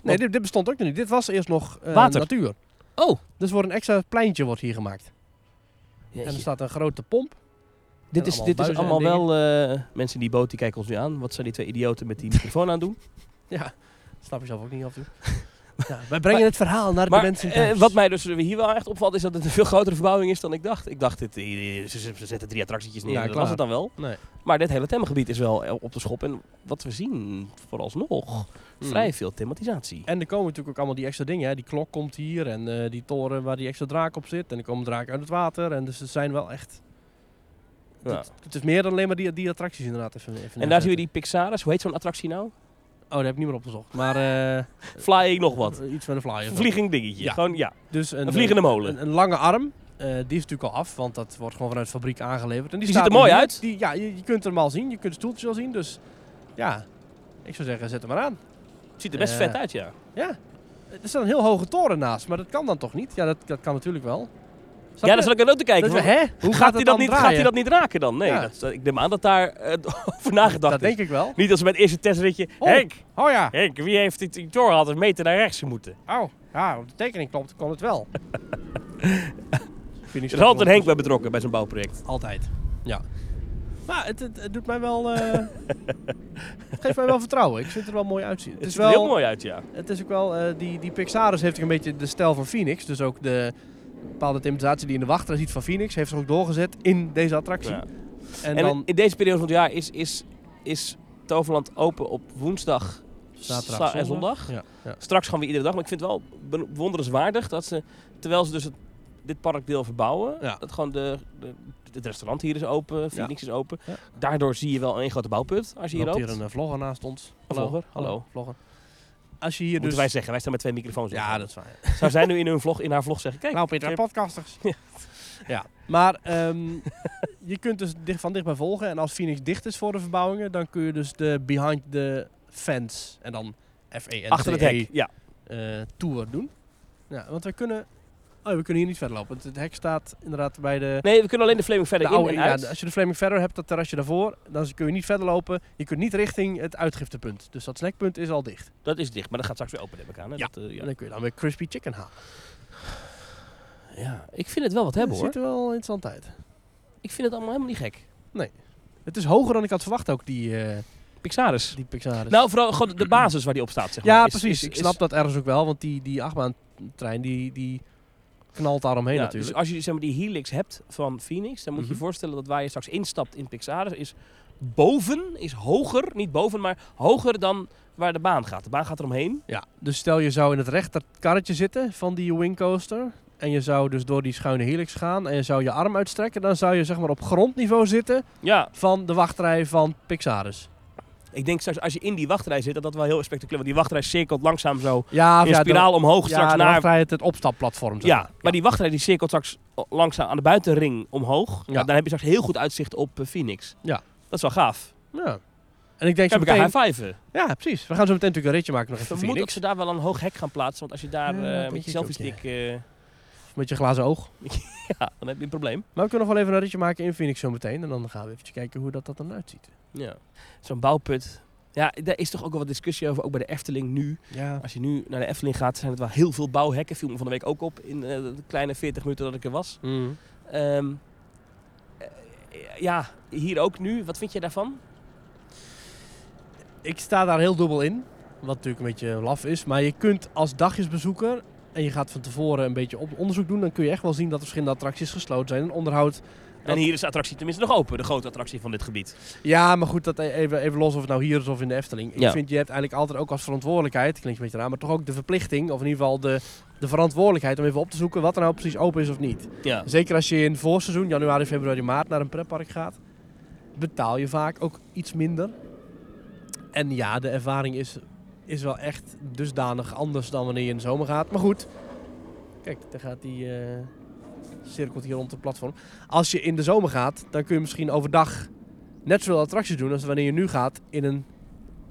Nee, dit, dit bestond ook nog niet. Dit was eerst nog eh, Water. natuur. Oh. Dus wordt een extra pleintje wordt hier gemaakt. En er Jeetje. staat een grote pomp. dit is, allemaal dit is buizen en allemaal wel... eh, mensen in die boot die kijken ons nu aan. Wat zijn die twee idioten [LAUGHS] met die microfoon aan het doen? Ja, dat snap je zelf ook niet [LAUGHS] af en toe. ja, wij brengen het verhaal naar de Maar mensen eh, thuis. wat mij dus hier wel echt opvalt is dat het een veel grotere verbouwing is dan ik dacht. Ik dacht, dit, eh, ze, ze- ze zetten drie attractietjes neer. Ja, Ja, dat klaar. was het dan wel. Nee. Maar dit hele themagebied is wel eh, op de schop. En wat we zien vooralsnog, Hmm. vrij veel thematisatie. En er komen natuurlijk ook allemaal die extra dingen. Hè. Die klok komt hier en eh, die toren waar die extra draak op zit. En er komen draken uit het water. En dus ze zijn wel echt... Ja. Het, het is meer dan alleen maar die, die attracties inderdaad. Even, even En daar zien neerzetten. we die Pixaris. Hoe heet zo'n attractie nou? Oh, daar heb ik niet meer opgezocht. Maar eh, Flying nog wat. iets met een flyer. Een vliegend dingetje. Ja. Gewoon, ja. Dus een, Een vliegende molen. Een, een lange arm. Eh, die is natuurlijk al af, want dat wordt gewoon vanuit de fabriek aangeleverd. En die, Die staat ziet er mooi hier. uit. Die, ja, je, je kunt hem al zien. Je kunt de stoeltjes al zien. Dus ja, ik zou zeggen, zet hem maar aan. Ziet er best Eh, vet uit, ja. Er staat een heel hoge toren naast, maar dat kan dan toch niet? Ja, dat, dat kan natuurlijk wel. Snap Ja, je? daar zal ik er ook te kijken. Dat je- van, hè? Hoe gaat, gaat, hij het dat dan niet, draaien? gaat hij dat niet raken dan? Nee, Ja. dat, ik neem aan dat daar eh, [LAUGHS] over nagedacht Dat is. denk ik wel. Niet als met het eerste testritje. Oh. Henk, Oh ja. Henk, wie heeft die, die toren altijd meter naar rechts moeten? Oh, ja, op de tekening klopt, kon het [LAUGHS] wel. Er is altijd een Henk bij betrokken bij zo'n bouwproject. Altijd. Ja. Maar het, het, het doet mij wel. eh, het geeft mij wel vertrouwen. Ik vind het er wel mooi uitzien. Het, Het is ziet er wel. heel mooi uit, ja. Het is ook wel. eh, die, die Pixaris heeft ook een beetje de stijl van Phoenix. Dus ook de bepaalde thematisatie die je in de wachtrij ziet van Phoenix. Heeft ze ook doorgezet in deze attractie. Ja. En, En dan. in deze periode van het jaar is, is, is Toverland open op woensdag Zaterdag, en zondag. Ja, ja. Straks gaan we iedere dag, maar ik vind het wel be- bewonderenswaardig dat ze, terwijl ze dus het dit parkdeel verbouwen. Ja. Dat gewoon de, de- het restaurant hier is open, Phoenix is open. Ja. Daardoor zie je wel een grote bouwput als je hier Loopt hier loopt. een eh, vlogger naast ons. vlogger? Hallo. Vlogger. Als je hier Moeten dus... wij zeggen, wij staan met twee microfoons. in. Ja, dat is waar. Zou zij nu in, hun vlog, in haar vlog zeggen, kijk, Nou, Peter, Trip. podcasters. [LAUGHS] Ja. Maar ehm, je kunt dus dicht- van dichtbij volgen. En als Phoenix dicht is voor de verbouwingen, dan kun je dus de behind the fence en dan f e eh, achter het hek. Ja. tour doen. Ja, want we kunnen... Oh, we kunnen hier niet verder lopen. want Het hek staat inderdaad bij de... Nee, we kunnen alleen de flaming verder de oude- in en ja, uit. als je de Flaming verder hebt, dat terrasje daarvoor, dan kun je niet verder lopen. Je kunt niet richting het uitgiftepunt. Dus dat snackpunt is al dicht. Dat is dicht, maar dat gaat straks weer open, heb ik aan. Hè? Ja. Dat, eh, En ja. dan kun je dan weer crispy chicken halen. ja, ik vind het wel wat hebben Het hoor. ziet er wel interessant uit. Ik vind het allemaal helemaal niet gek. Het is hoger dan ik had verwacht ook, die, eh, Pixaris. die Pixar. Nou, vooral gewoon de basis waar die op staat, zeg maar. Ja, is- precies. is- ik snap is- dat ergens ook wel, want die, die achtbaantrein die, die knalt daaromheen ja, natuurlijk. Dus als je zeg maar, die helix hebt van Phoenix, dan moet je Mhm. je voorstellen dat waar je straks instapt in Pixaris is boven, is hoger, niet boven, maar hoger dan waar de baan gaat. De baan gaat eromheen. ja, dus stel je zou in het rechterkarretje zitten van die wingcoaster en je zou dus door die schuine helix gaan en je zou je arm uitstrekken, dan zou je zeg maar op grondniveau zitten Ja, van de wachtrij van Pixaris. ik denk straks als je in die wachtrij zit, dat dat wel heel spectaculair, want die wachtrij cirkelt langzaam zo Ja, in spiraal omhoog ja, straks de naar... wachtrij het, het opstapplatform. zeg Ja, maar die wachtrij die cirkelt straks langzaam aan de buitenring omhoog. Ja. Ja. dan heb je straks heel goed uitzicht op eh, Phoenix. Ja. Dat is wel gaaf. Ja. En ik denk zo Kan ik elkaar meteen... high-fiven. Ja, precies. We gaan zo meteen natuurlijk een ritje maken nog Ik even vermoed dat Phoenix. ze daar wel een hoog hek gaan plaatsen. Want als je daar Ja, eh, dat met denk je ik selfie ook, stick... eh, [LAUGHS] Met je glazen oog. ja, dan heb je een probleem. Maar we kunnen nog wel even een ritje maken in Phoenix zo meteen. En dan gaan we even kijken hoe dat, dat dan uitziet. Ja. Zo'n bouwput. Ja, daar is toch ook wel wat discussie over, ook bij de Efteling nu. Ja. Als je nu naar de Efteling gaat, zijn het wel heel veel bouwhekken. Viel me van de week ook op in eh, de kleine 40 minuten dat ik er was. Ehm, eh, ja, hier ook nu. Wat vind jij daarvan? Ik sta daar heel dubbel in. Wat natuurlijk een beetje laf is. Maar je kunt als dagjesbezoeker. En je gaat van tevoren een beetje op onderzoek doen. Dan kun je echt wel zien dat er verschillende attracties gesloten zijn. En onderhoud. En hier is de attractie tenminste nog open. De grote attractie van dit gebied. Ja, maar goed, dat e- even, even los of het nou hier is of in de Efteling. Ja. Ik vind, je hebt eigenlijk altijd ook als verantwoordelijkheid. Klinkt een beetje raar, maar toch ook de verplichting. Of in ieder geval de, de verantwoordelijkheid om even op te zoeken wat er nou precies open is of niet. Ja. Zeker als je in het voorseizoen, januari, februari, maart, naar een pretpark gaat, betaal je vaak ook iets minder. En ja, de ervaring is, is wel echt dusdanig anders dan wanneer je in de zomer gaat. Maar goed, kijk, daar gaat die eh, cirkelt hier rond het platform. Als je in de zomer gaat, dan kun je misschien overdag net zoveel attracties doen als wanneer je nu gaat in een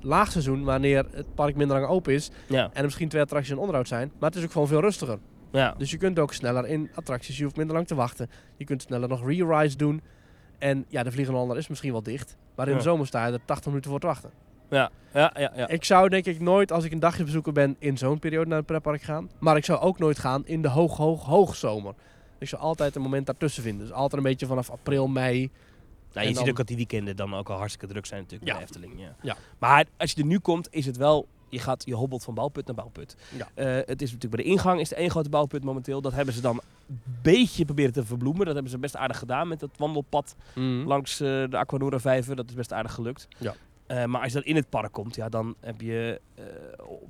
laagseizoen, wanneer het park minder lang open is Ja. en er misschien twee attracties in onderhoud zijn. Maar het is ook gewoon veel rustiger. ja. Dus je kunt ook sneller in attracties, je hoeft minder lang te wachten. Je kunt sneller nog re-rise doen. En ja, de Vliegende Hollander is misschien wel dicht. Maar in Ja. de zomer sta je er 80 minuten voor te wachten. Ja, ja, ja. Nou, ja. Ik zou denk ik nooit, als ik een dagje bezoeker ben, in zo'n periode naar een pretpark gaan. Maar ik zou ook nooit gaan in de hoog, hoog, hoog zomer. Ik zou altijd een moment daartussen vinden. Dus altijd een beetje vanaf april, mei. Nou, je En ziet dan- ook dat die weekenden dan ook al hartstikke druk zijn natuurlijk bij Ja. de Efteling. Ja. Ja. Maar als je er nu komt, is het wel... Je, gaat, je hobbelt van bouwput naar bouwput. Ja. Eh, het is natuurlijk bij de ingang is de één grote bouwput momenteel. Dat hebben ze dan een beetje proberen te verbloemen. Dat hebben ze best aardig gedaan met dat wandelpad langs eh, de Aquanura vijver. Dat is best aardig gelukt. Ja. Eh, maar als je dan in het park komt, ja, dan heb je eh,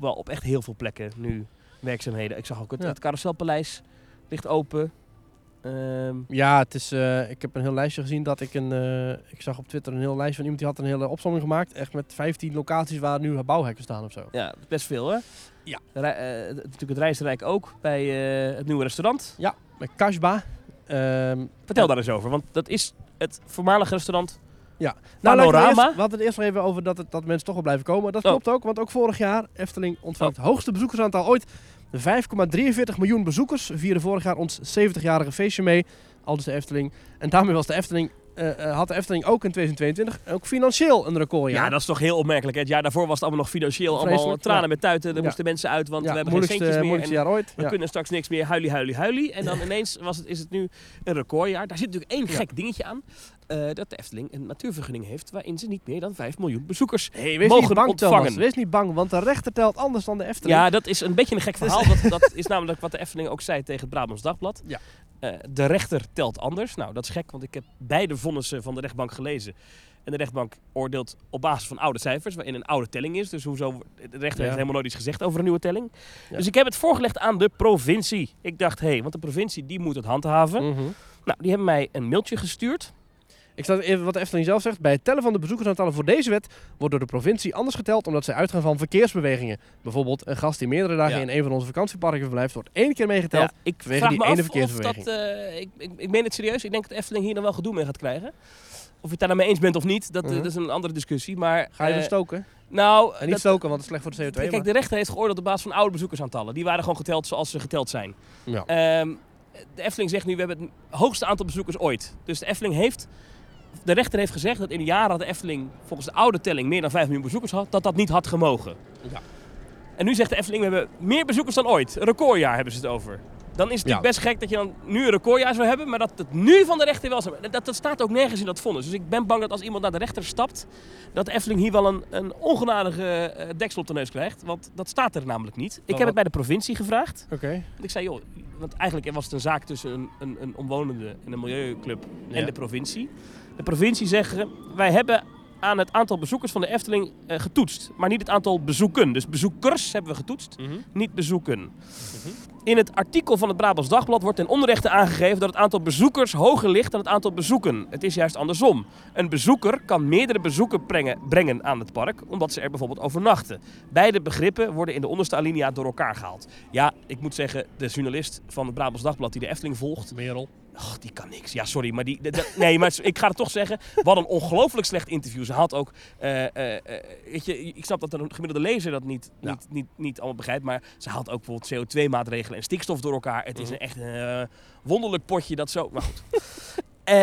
wel op echt heel veel plekken nu werkzaamheden. Ik zag ook het, Ja. het Carouselpaleis ligt open. Ehm, Ja, het is, eh, ik heb een heel lijstje gezien dat ik een. eh, ik zag op Twitter een heel lijstje van iemand die had een hele opzomming gemaakt. Echt met 15 locaties waar nu bouwhekken staan of zo. Ja, best veel hè? Ja. Rij- eh, het- natuurlijk het Reisrijk ook bij eh, het nieuwe restaurant. Met Kashba. Ehm Vertel Ja. daar eens over, want dat is het voormalige restaurant. Nou, laten We, Panorama. eerst- we hadden het eerst nog even over dat, het, dat mensen toch wel blijven komen. Dat Oh. klopt ook, want ook vorig jaar Efteling ontvangt het hoogste bezoekersaantal ooit. 5,43 miljoen bezoekers vierden vorig jaar ons 70-jarige feestje mee. Al dus de Efteling. En daarmee was de Efteling, eh, eh, had de Efteling ook in 2022 ook financieel een recordjaar. Ja, dat is toch heel opmerkelijk. hè? Het jaar daarvoor was het allemaal nog financieel allemaal Vreselijk, tranen ja. met tuiten. Er Ja. moesten mensen uit, want Ja, we hebben geen moeilijkste, centjes meer. moeilijkste en jaar ooit. we Ja. kunnen straks niks meer. Huilie, huilie, huilie. En dan ineens was het, is het nu een recordjaar. Daar zit natuurlijk één Ja. gek dingetje aan. eh, dat de Efteling een natuurvergunning heeft waarin ze niet meer dan 5 miljoen bezoekers Hey, wees mogen niet bang, ontvangen. Thomas. Wees niet bang, want de rechter telt anders dan de Efteling. Ja, dat is een beetje een gek Dus- verhaal. Dat, dat is namelijk wat de Efteling ook zei tegen het Brabants Dagblad. Ja. Eh, de rechter telt anders. Nou, dat is gek, want ik heb beide vonnissen van de rechtbank gelezen. En de rechtbank oordeelt op basis van oude cijfers, waarin een oude telling is. Dus hoezo, de rechter Ja. heeft helemaal nooit iets gezegd over een nieuwe telling. Ja. Dus ik heb het voorgelegd aan de provincie. Ik dacht, hé, hey, want de provincie die moet het handhaven. Mhm. Nou, die hebben mij een mailtje gestuurd. Ik sta even wat de Efteling zelf zegt. Bij het tellen van de bezoekersaantallen voor deze wet wordt door de provincie anders geteld omdat zij uitgaan van verkeersbewegingen. Bijvoorbeeld een gast die meerdere dagen Ja. in een van onze vakantieparken verblijft wordt één keer meegeteld. Ja, ik vanwege vraag die me ene af of dat... verkeersbeweging. eh, ik, ik, ik meen het serieus. Ik denk dat de Efteling hier dan wel gedoe mee gaat krijgen. Of je het daar nou mee eens bent of niet, dat, eh, Mhm. dat is een andere discussie. Maar, Ga je eh, dan stoken? Nou, En niet dat- stoken, want het is slecht voor de CO2. Kijk, maar- de rechter heeft geoordeeld op basis van oude bezoekersaantallen. Die waren gewoon geteld zoals ze geteld zijn. Ja. Ehm, de Efteling zegt nu, we hebben het hoogste aantal bezoekers ooit. Dus de Efteling heeft, de rechter heeft gezegd dat in de jaren dat de Efteling volgens de oude telling meer dan 5 miljoen bezoekers had, dat dat niet had gemogen. Ja. En nu zegt de Efteling, we hebben meer bezoekers dan ooit. Een recordjaar hebben ze het over. Dan is het Ja. natuurlijk best gek dat je dan nu een recordjaar zou hebben, maar dat het nu van de rechter wel zou Dat, dat staat ook nergens in dat vonnis. Dus ik ben bang dat als iemand naar de rechter stapt, dat de Efteling hier wel een, een ongenadige eh, deksel op de neus krijgt. Want dat staat er namelijk niet. Ik wat- heb het bij de provincie gevraagd. Oké. Want ik zei, joh, want eigenlijk was het een zaak tussen een, een, een omwonende en een milieuclub en Ja. de provincie. De provincie zeggen, wij hebben aan het aantal bezoekers van de Efteling eh, getoetst, maar niet het aantal bezoeken. Dus bezoekers hebben we getoetst, niet bezoeken. In het artikel van het Brabants Dagblad wordt ten onrechte aangegeven dat het aantal bezoekers hoger ligt dan het aantal bezoeken. Het is juist andersom. Een bezoeker kan meerdere bezoeken brengen, brengen aan het park, omdat ze er bijvoorbeeld overnachten. Beide begrippen worden in de onderste alinea door elkaar gehaald. Ja, ik moet zeggen, de journalist van het Brabants Dagblad die de Efteling volgt, Merel. Och, die kan niks. Ja, sorry, maar die... dat- dat- nee, maar ik ga het toch zeggen. Wat een ongelooflijk slecht interview. Ze had ook... eh, eh, eh, weet je, ik snap dat een gemiddelde lezer dat niet, Ja. niet, niet, niet allemaal begrijpt. Maar ze haalt ook bijvoorbeeld CO2-maatregelen en stikstof door elkaar. Het Mhm. is een echt eh, wonderlijk potje dat zo... Maar [LAUGHS] goed. Eh,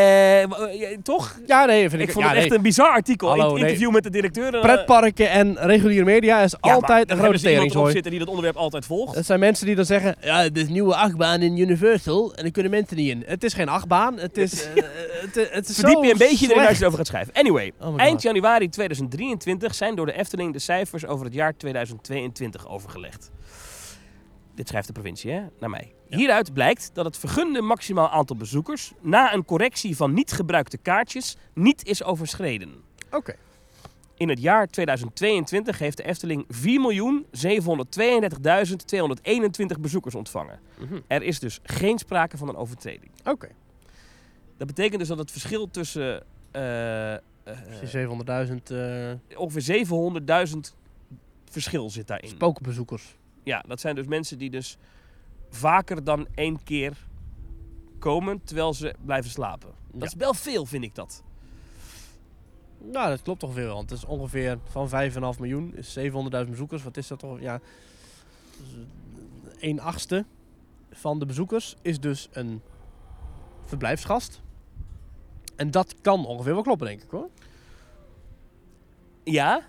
wa- eh, toch? Ja, nee, vind ik. Ik vond ja, het echt nee. een bizar artikel. Hallo, Een interview met de directeur. en, eh, Pretparken en reguliere media is ja, maar altijd dan een hebben grote ze iemand erop teringzooi. zitten die dat onderwerp altijd volgt. Dat zijn mensen die dan zeggen, ja, dit is een nieuwe achtbaan in Universal en daar kunnen mensen niet in. Het is geen achtbaan, het [LAUGHS] is, eh, het, is- het is zo Verdiep je een beetje erin slecht. als je erover gaat schrijven. Anyway, Oh my eind God. januari 2023 zijn door de Efteling de cijfers over het jaar 2022 overgelegd. Dit schrijft de provincie, hè? Naar mij. Hieruit blijkt dat het vergunde maximaal aantal bezoekers na een correctie van niet gebruikte kaartjes niet is overschreden. Oké. In het jaar 2022 heeft de Efteling 4.732.221 bezoekers ontvangen. Mhm. Er is dus geen sprake van een overtreding. Oké. Dat betekent dus dat het verschil tussen eh, eh, Precies 700.000 eh ongeveer 700.000 verschil zit daarin. spookbezoekers. ja, dat zijn dus mensen die dus vaker dan één keer komen terwijl ze blijven slapen. Ja. Dat is wel veel, vind ik dat. Nou, dat klopt toch veel, want het is ongeveer van 5,5 miljoen, is 700.000 bezoekers. Wat is dat toch? Ja, 1 achtste van de bezoekers is dus een verblijfsgast. En dat kan ongeveer wel kloppen, denk ik hoor. Ja,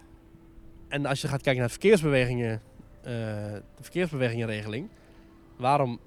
En als je gaat kijken naar de verkeersbewegingen, eh, de verkeersbewegingenregeling, waarom,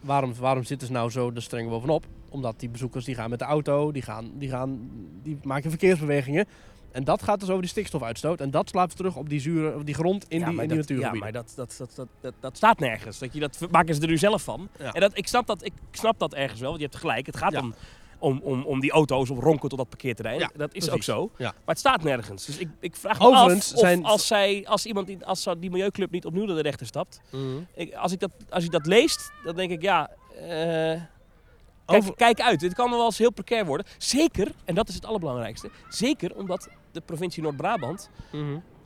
waarom, waarom zitten ze nou zo de streng bovenop? Omdat die bezoekers die gaan met de auto, die, gaan, die, gaan, die maken verkeersbewegingen. En dat gaat dus over die stikstofuitstoot. En dat slaat terug op die, zure, op die grond in ja, die, maar in die dat, ja, natuurgebieden. maar dat, dat, dat, dat, dat, dat staat nergens. Dat, je, dat ver- maken ze er nu zelf van. Ja. En dat, ik, snap dat, ik snap dat ergens wel, want je hebt gelijk. Het gaat Ja. om, om, om, om die auto's, om ronken tot dat parkeerterrein. Ja, dat is precies. ook zo. Ja. Maar het staat nergens. Dus ik, ik vraag me Overigens af of zijn- als, zij, als, iemand die, als zo- die milieuclub niet opnieuw naar de rechter stapt. Ik, als, ik dat, als ik dat leest, dan denk ik ja... eh, Kijk, Over- kijk uit, dit kan wel eens heel precair worden. Zeker, en dat is het allerbelangrijkste, zeker omdat de provincie Noord-Brabant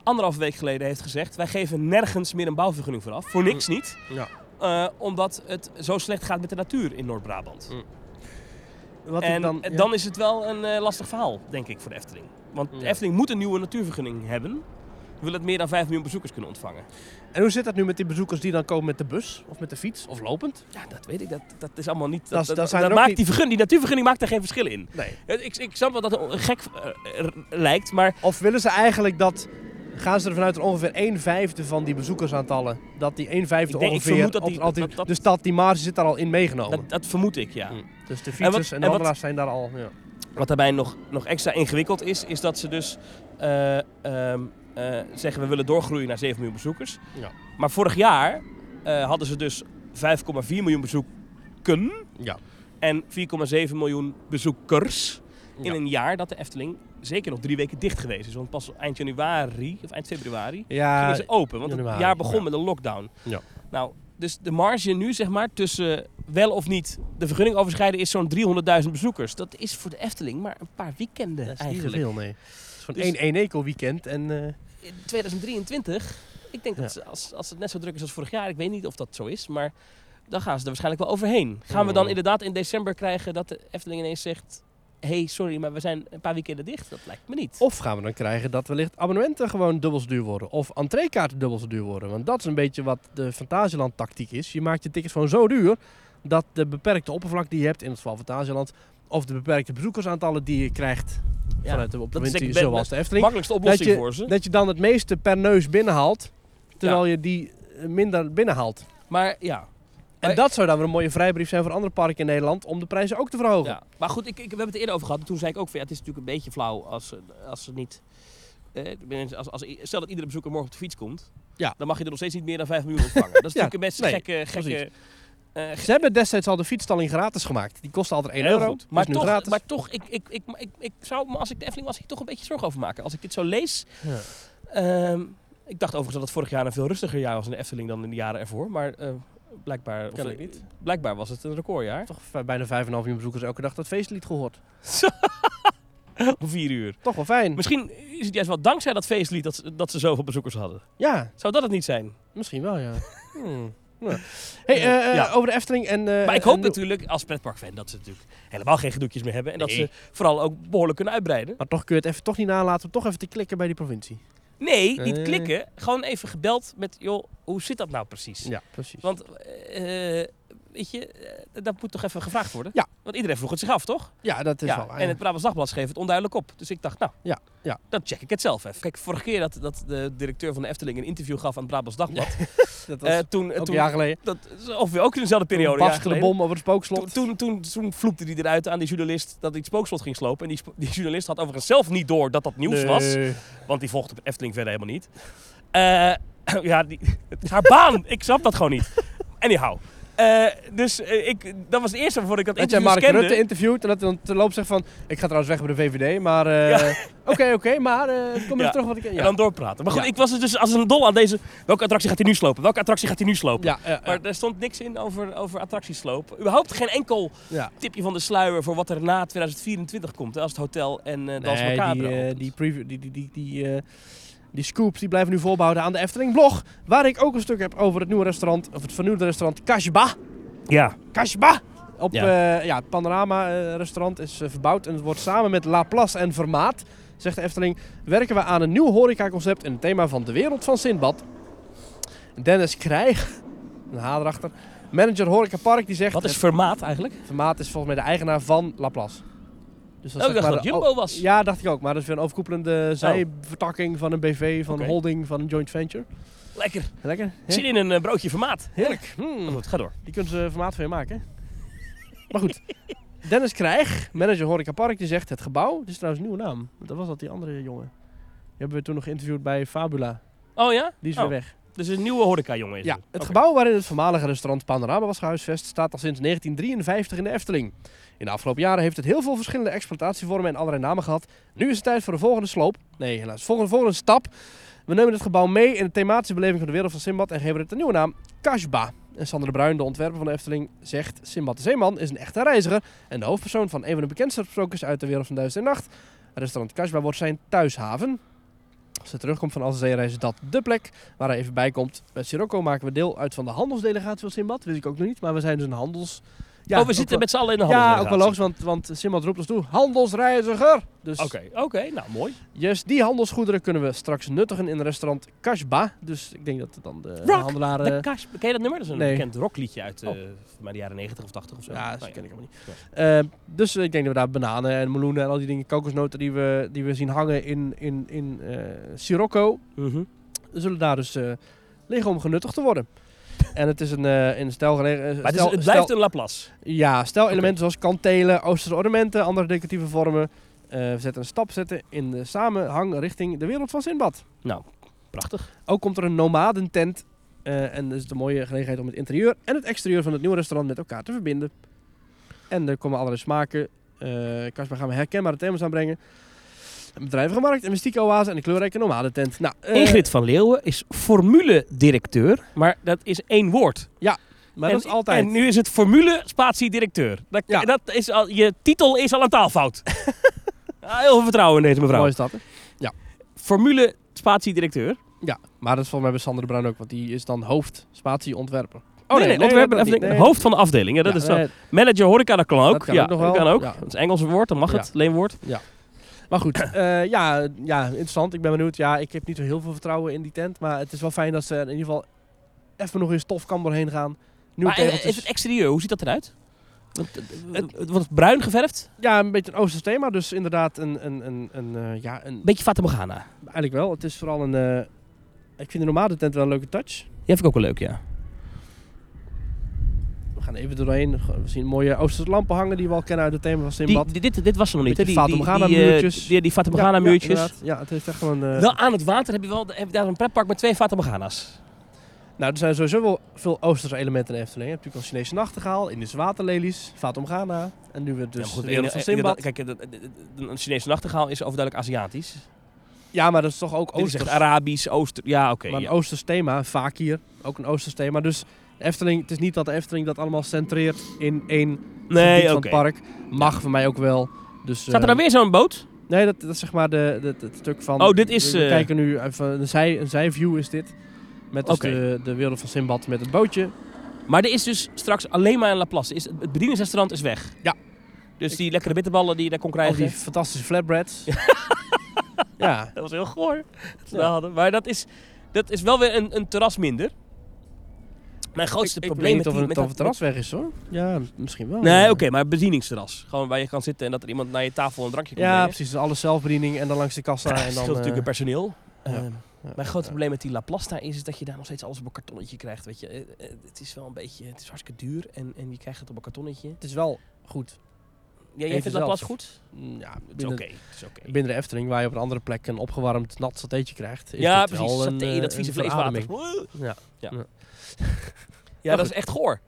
anderhalve week geleden heeft gezegd... wij geven nergens meer een bouwvergunning vooraf, voor niks niet. Ja. Eh, omdat het zo slecht gaat met de natuur in Noord-Brabant. Wat ik En dan, dan, ja. dan is het wel een eh, lastig verhaal, denk ik, voor de Efteling. Want de Ja. Efteling moet een nieuwe natuurvergunning hebben. Wil het meer dan 5 miljoen bezoekers kunnen ontvangen? En hoe zit dat nu met die bezoekers die dan komen met de bus of met de fiets of lopend? Ja, dat weet ik. Dat, dat is allemaal niet. Dat- Dat, dat dat, zijn er dat ook maakt niet- die, vergunning, die natuurvergunning maakt daar geen verschil in. Nee. Het- Ik, ik snap wel dat het gek eh, r- lijkt, maar Of willen ze eigenlijk dat. Gaan ze ervan uit dat ongeveer 1 vijfde van die bezoekersaantallen. dat die 1 vijfde Ik denk- ik ongeveer. vermoed dat op die- al die- dat- dat- dus dat die marge zit daar al in meegenomen. dat, dat vermoed ik, ja. Hm. dus de fietsers en, en de wat- handelaars zijn daar al. Ja. Wat daarbij nog, nog extra ingewikkeld is, is dat ze dus eh, ehm, eh, zeggen we willen doorgroeien naar 7 miljoen bezoekers. Ja. Maar vorig jaar eh, hadden ze dus 5,4 miljoen bezoeken Ja. en 4,7 miljoen bezoekers Ja. in een jaar dat de Efteling zeker nog drie weken dicht geweest is. Want pas eind januari, of eind februari, Ja, gingen ze open. Want januari, het jaar begon ja. met een lockdown. Ja. Nou, dus de marge nu, zeg maar, tussen wel of niet de vergunning overschrijden is zo'n 300.000 bezoekers. Dat is voor de Efteling maar een paar weekenden dat is niet eigenlijk. zoveel, nee. Het is gewoon Dus- één één eco weekend en... eh, In 2023, ik denk dat Ja. ze- als, als het net zo druk is als vorig jaar, ik weet niet of dat zo is, maar dan gaan ze er waarschijnlijk wel overheen. Gaan we dan Mm. inderdaad in december krijgen dat de Efteling ineens zegt, hey, sorry, maar we zijn een paar weekenden dicht? Dat lijkt me niet. Of gaan we dan krijgen dat wellicht abonnementen gewoon dubbel zo duur worden. Of entreekaarten dubbel zo duur worden. Want dat is een beetje wat de Fantasieland tactiek is. Je maakt je tickets gewoon zo duur dat de beperkte oppervlak die je hebt, in het geval Fantasieland, of de beperkte bezoekersaantallen die je krijgt Ja, vanuit de denk provincie ik ben- zoals de de Efteling. makkelijkste oplossing je- voor ze. Dat je dan het meeste per neus binnenhaalt, terwijl je die eh, minder binnenhaalt. Maar ja, En Maar- dat zou dan weer een mooie vrijbrief zijn voor andere parken in Nederland om de prijzen ook te verhogen. Ja. Maar goed, ik, ik, we hebben het er eerder over gehad. En toen zei ik ook van ja, het is natuurlijk een beetje flauw als, ze- als ze niet. eh, tenminste, als, als, stel dat iedere bezoeker morgen op de fiets komt, Ja. dan mag je er nog steeds niet meer dan 5 miljoen [LAUGHS] ontvangen. Dat is Ja, natuurlijk een best nee, gekke. gekke eh, ge- Ze hebben destijds al de fietsstalling gratis gemaakt. Die kostte altijd 1 heel euro. goed. is Maar nu toch, gratis. maar toch ik, ik, ik, ik, ik zou me als ik de Efteling was, ik toch een beetje zorgen over maken. Als ik dit zo lees. Ja. ehm, ik dacht overigens dat het vorig jaar een veel rustiger jaar was in de Efteling dan in de jaren ervoor. Maar eh, blijkbaar, of, Ken ik eh, niet. blijkbaar was het een recordjaar. toch v- bijna 5,5 miljoen bezoekers elke dag dat feestlied gehoord. Om vier uur. Toch wel fijn. Misschien is het juist wel dankzij dat feestlied dat, ze- dat ze zoveel bezoekers hadden. Ja, Zou dat het niet zijn? misschien wel, [LAUGHS] ja. Hmm. Ja. Hey, eh, eh, Ja. over de Efteling en... eh, maar ik hoop en- natuurlijk als pretparkfan dat ze natuurlijk helemaal geen gedoetjes meer hebben. En dat Nee. ze vooral ook behoorlijk kunnen uitbreiden. Maar toch kun je het even toch niet nalaten om toch even te klikken bij die provincie. Nee, niet Eh. klikken. Gewoon even gebeld met, joh, hoe zit dat nou precies? Ja, precies. Want, eh, weet je, eh, dat moet toch even gevraagd worden? Ja. Want iedereen vroeg het zich af, toch? ja, dat is wel... en het eh, Brabants Dagblad schreef het onduidelijk op. Dus ik dacht, nou, Ja, ja. dan check ik het zelf even. Kijk, vorige keer dat, dat de directeur van de Efteling een interview gaf aan het Brabants Dagblad. dat eh, was toen, eh, ook een toen, jaar geleden. dat, of weer ook in dezelfde periode. een jaar Bafste de geleden. bom over het Toen, spookslot. toen, toen, toen vloepte hij eruit aan die journalist dat hij het spookslot ging slopen. En die, spo- die journalist had overigens zelf niet door dat dat nieuws Nee. was. Want die volgde de Efteling verder helemaal niet. Eh, [CLEARS THROAT] ja, die, [LAUGHS] het is haar baan. Ik snap dat gewoon niet. Anyhow. Eh, dus eh, ik, dat was het eerste waarvoor ik dat Dat jij interview Mark kende. Rutte interviewt en dat hij dan te loop zegt van... Ik ga trouwens weg bij de VVD, maar... eh, Ja. Oké, [LAUGHS] oké, maar eh, kom Ja. even terug wat ik... Ja, En dan doorpraten. Maar goed, Ja. ik was er dus als een dol aan deze... Welke attractie gaat hij nu slopen? Welke attractie gaat hij nu slopen? ja, ja, Maar er stond niks in over, over attractiesloop. Überhaupt geen enkel ja. tipje van de sluier voor wat er na 2024 komt. Hè, als het hotel en eh Dans Nee, Macabre die, eh, opent. die, preview, die, die, die, die, eh, die scoops die blijven nu voorbehouden aan de Efteling blog. Waar ik ook een stuk heb over het nieuwe restaurant, of het vernieuwde restaurant Kasbah. Ja. Kasbah! Op Ja. ja. ja, het Panorama eh, restaurant is eh, verbouwd en het wordt samen met La Place en Vermaat, zegt de Efteling, werken we aan een nieuw horecaconcept in het thema van de wereld van Sinbad. Dennis Krijg, [LAUGHS] een H erachter, manager Horeca Park, die zegt... Wat is eh, formaat eigenlijk? Vermaat is volgens mij de eigenaar van La Place. Dus Oh, ik zeg dacht maar dat de- Jumbo was. Oh. ja, dacht ik ook. Maar dat is weer een overkoepelende zijvertakking van een BV, van Oké. een holding, van een joint venture. Lekker. Lekker. hè? Zit in een eh, broodje formaat. Heerlijk. Hmm. Maar goed, ga door. Die kunnen ze formaat van je maken. hè? maar goed. Dennis Krijg, manager Horeca Park, die zegt het gebouw. Dit is trouwens een nieuwe naam. Want Dat was dat die andere jongen. Die hebben we toen nog geïnterviewd bij Fabula. Oh ja? Die is Oh, weer weg. Dus een nieuwe horeca jongen is Ja, het. het Oké. gebouw waarin het voormalige restaurant Panorama was gehuisvest staat al sinds 1953 in de Efteling. In de afgelopen jaren heeft het heel veel verschillende exploitatievormen en allerlei namen gehad. Nu is het tijd voor de volgende sloop. Nee, helaas. Volgende, volgende stap. We nemen het gebouw mee in de thematische beleving van de wereld van Simbad en geven het een nieuwe naam, Kashba. En Sander de Bruin, de ontwerper van de Efteling, zegt... Simbad de Zeeman is een echte reiziger en de hoofdpersoon van een van de bekendste sprookjes uit de wereld van Duizend en Nacht. Restaurant Kashba wordt zijn thuishaven. Als hij terugkomt van Als Zeereis is dat de plek waar hij even bij komt. Met Sirocco maken we deel uit van de handelsdelegatie van Simbad. wist ik ook nog niet, maar we zijn dus een handels... Ja, oh, we ook zitten wel- met z'n allen in de ja, ook handelsdelegatie. wel logisch, want, want Simbad roept ons toe, handelsreiziger! Dus Oké, oké. nou mooi. juist die handelsgoederen kunnen we straks nuttigen in restaurant Kashba. Dus ik denk dat dan de Rock handelaren... De Cash, ken je dat nummer? Dat is een Eh. nee. bekend rockliedje uit eh, Oh. volgens mij de jaren 90 of 80 of zo. Ja, dat Nou ken ik helemaal Ja. Eh, dus ik denk dat we daar bananen en meloenen en al die dingen, kokosnoten die we, die we zien hangen in, in, in eh, Sirocco, Mhm. zullen daar dus eh, liggen om genuttigd te worden. En het is een eh, in stijl gelegen. eh, Maar het, is- stijl- het blijft stijl- een Laplace. Ja, stijl elementen zoals kantelen, oosterse ornamenten, andere decoratieve vormen. Eh, we zetten een stap zetten in de samenhang richting de wereld van Sinbad. Prachtig. Ook komt er een nomadentent. eh en dat is de mooie gelegenheid om het interieur en het exterieur van het nieuwe restaurant met elkaar te verbinden. En er komen allerlei smaken. eh Kasper gaan we herkenbare thema's aanbrengen. Een bedrijvige markt, een mystieke oase en een kleurrijke nomadentent. Nou, eh, Ingrid van Leeuwen is formule-directeur. Maar dat is één woord. maar en, dat is altijd... En nu is het formule-spatie-directeur. Dat, Ja. dat is al, je titel is al een [LAUGHS] taalfout. Ah, Heel veel vertrouwen in deze mevrouw. Mooi Oh, is dat, hè? Formule-spatie-directeur. Ja, maar dat is volgens mij bij Sander de Bruin ook, want die is dan hoofd spatieontwerper. Oh nee, nee, ontwerper, dat even denken. niet. hoofd van de afdeling. Ja, dat Ja, eh, is zo. nee, Manager horeca, dat kan ook. Dat kan ja, ook nog wel. Dat kan ook. Ja. Dat is Engelse woord, dan mag Ja. het. Leenwoord. Maar goed, eh, ja, ja, interessant. Ik ben benieuwd. Ja, ik heb niet zo heel veel vertrouwen in die tent. Maar het is wel fijn dat ze er in ieder geval even nog eens stof kan doorheen gaan. Nieuwe Maar eh, tegeltjes. even het exterieur, hoe ziet dat eruit? Want, eh, Het wordt bruin geverfd. Ja, een beetje een oosters thema. Dus inderdaad een, een, een, een eh, ja, een, Beetje Fata Morgana. eigenlijk wel. Het is vooral een, eh, ik vind de normale tent wel een leuke touch. Die vind ik ook wel leuk, ja. We gaan even doorheen. Gewoon, We zien mooie oosterse lampen hangen die we al kennen uit het thema van Die, Simbad. die- dit, dit was er nog niet. hè? Beetje Die- Fata die- Morgana die, eh, muurtjes. Die, die Fata Morgana muurtjes. Ja, inderdaad. ja, het heeft echt wel een... eh, Wel aan het water heb je, wel, heb je daar een pretpark met twee Fata Morgana's. Nou, er zijn sowieso wel veel oosterse elementen in Efteling. Je hebt natuurlijk al Chinese nachtegaal, Indische waterlelies, Fatum Ghana. En nu weer dus Ja, maar de eh, wereld van eh, Simbad. inderdaad, Kijk, eh, dat- eh, eh, een Chinese nachtegaal is overduidelijk Aziatisch. Ja, maar dat is toch ook Dit Oh, is echt oosters. Arabisch, Ooster... Ja, oké. maar een ja. oosters thema, vaak hier. Ook een oosters thema. Dus de Efteling, het is niet dat de Efteling dat allemaal centreert in één gebied Nee, van oké. het park. Mag voor mij ook wel. Dus, Staat er eh, dan weer zo'n boot? Nee, dat, dat is zeg maar de, de- het stuk van... Oh, dit is, We, we eh, kijken nu even, een, zij, een zijview is dit. Met dus Oké. de, de wereld van Simbad met het bootje. Maar er is dus straks alleen maar een Laplace. Is, het bedieningsrestaurant is weg. Ja. Dus die lekkere bitterballen Oh, die je daar kon Al krijgen. die fantastische flatbreads. [LAUGHS] ja. Dat was heel goor. Dat we Ja. hadden. Maar dat is, dat is wel weer een, een terras minder. Mijn grootste ik, probleem ik weet met niet die- of het met over dat- het terras weg is hoor. Ja, m- misschien wel. met- Nee, Ja. oké, maar bedieningsterras. Gewoon waar je kan zitten en dat er iemand naar je tafel een drankje komt Ja, brengen. precies. Dus alles zelfbediening en dan langs de [LAUGHS] kassa. Ja, en dat dan, scheelt eh, natuurlijk een personeel. ja, Ehm, ja, mijn grote ja. probleem met die Laplasta is, is dat je daar nog steeds alles op een kartonnetje krijgt. Weet je. Eh, eh, Het is wel een beetje, het is hartstikke duur en, en je krijgt het op een kartonnetje. Het is wel goed. Ja, jij Even vindt zelf. Laplace goed? Mm, Ja, Het is binnen, oké. het is oké. binnen de Efteling, waar je op een andere plek een opgewarmd nat satéetje krijgt. Is Ja, dit precies. Wel een, Saté, eh, dat vieze een vleeswater. verademing. Ja. Ja, Ja. ja dat is echt goor.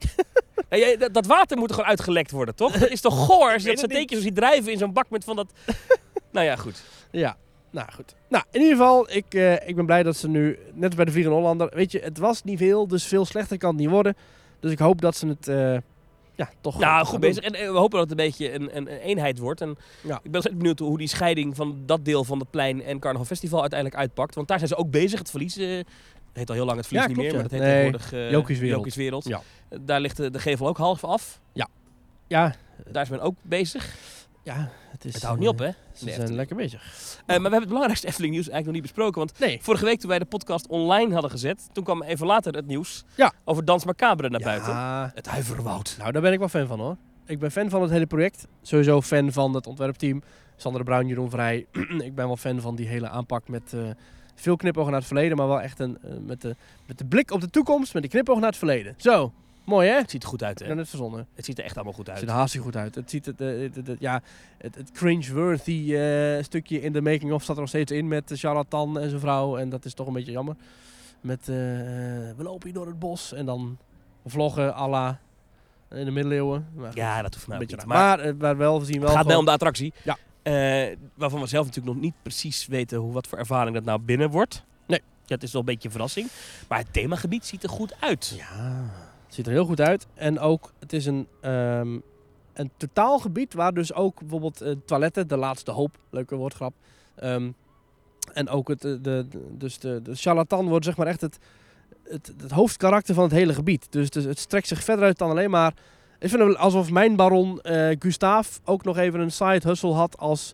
[LAUGHS] Ja, jij- dat, dat water moet er gewoon uitgelekt worden, toch? Dat is toch goor als je dat weet het satéetje zo ziet drijven in zo'n bak met van dat... [LAUGHS] nou ja, goed. Ja, nou goed. Nou, in ieder geval, ik, eh, ik ben blij dat ze nu, net als bij de Vliegende Hollander, weet je, het was niet veel, dus veel slechter kan het niet worden. Dus ik hoop dat ze het, eh, ja, toch Nou, gaan goed doen. bezig. En eh, we hopen dat het een beetje een, een, een eenheid wordt. En Ja. ik ben nog steeds benieuwd hoe die scheiding van dat deel van het plein en Carnaval Festival uiteindelijk uitpakt. Want daar zijn ze ook bezig. Het verlies eh, heet al heel lang het verlies Ja, niet klopt, meer, ja. maar dat Nee, heet tegenwoordig eh, Jokies Wereld. Jokies Wereld. Ja. Eh, daar ligt de, de gevel ook half af. Ja, Daar is men ook bezig. ja, het is... Het houdt niet op, eh, hè? Ze Nee, zijn lekker bezig. Eh, maar we hebben het belangrijkste Efteling nieuws eigenlijk nog niet besproken. Want Nee. vorige week toen wij de podcast online hadden gezet, toen kwam even later het nieuws Ja. over Dans Macabre naar Ja, buiten. Het huiverwoud. Nou, daar ben ik wel fan van hoor. Ik ben fan van het hele project. Sowieso fan van het ontwerpteam. Sander de Bruin, Jeroen Vrij. [CLEARS THROAT] ik ben wel fan van die hele aanpak met eh, veel knipogen naar het verleden. Maar wel echt een, eh, met, de, met de blik op de toekomst, met de knipogen naar het verleden. Zo, mooi hè? Het ziet er goed uit, Ik ben hè? net verzonnen. Het ziet er echt allemaal goed Het uit. ziet er hartstikke goed uit. Het ziet het, eh, het, het- het- ja, het, het cringe-worthy eh, stukje in de making-of staat er nog steeds in met de charlatan en zijn vrouw. En dat is toch een beetje jammer. Met eh, we lopen hier door het bos en dan vloggen à la in de middeleeuwen. Maar, goed, Ja, dat hoeft mij een ook beetje niet. raar. Maar maar, eh, maar wel, we zien wel het gaat mij gewoon- om de attractie. Ja. Eh, waarvan we zelf natuurlijk nog niet precies weten hoe, wat voor ervaring dat nou binnen wordt. Nee. Dat is wel een beetje een verrassing. Maar het themagebied ziet er goed uit. Ja, het ziet er heel goed uit. En ook, het is een, ehm een totaalgebied waar dus ook bijvoorbeeld eh, toiletten, de laatste hoop, leuke woordgrap. ehm, en ook het, eh, de, de- dus de, de charlatan wordt zeg maar echt het, het, het hoofdkarakter van het hele gebied. Dus, dus het strekt zich verder uit dan alleen maar... Ik vind het wel alsof mijn baron eh Gustaaf ook nog even een side hustle had als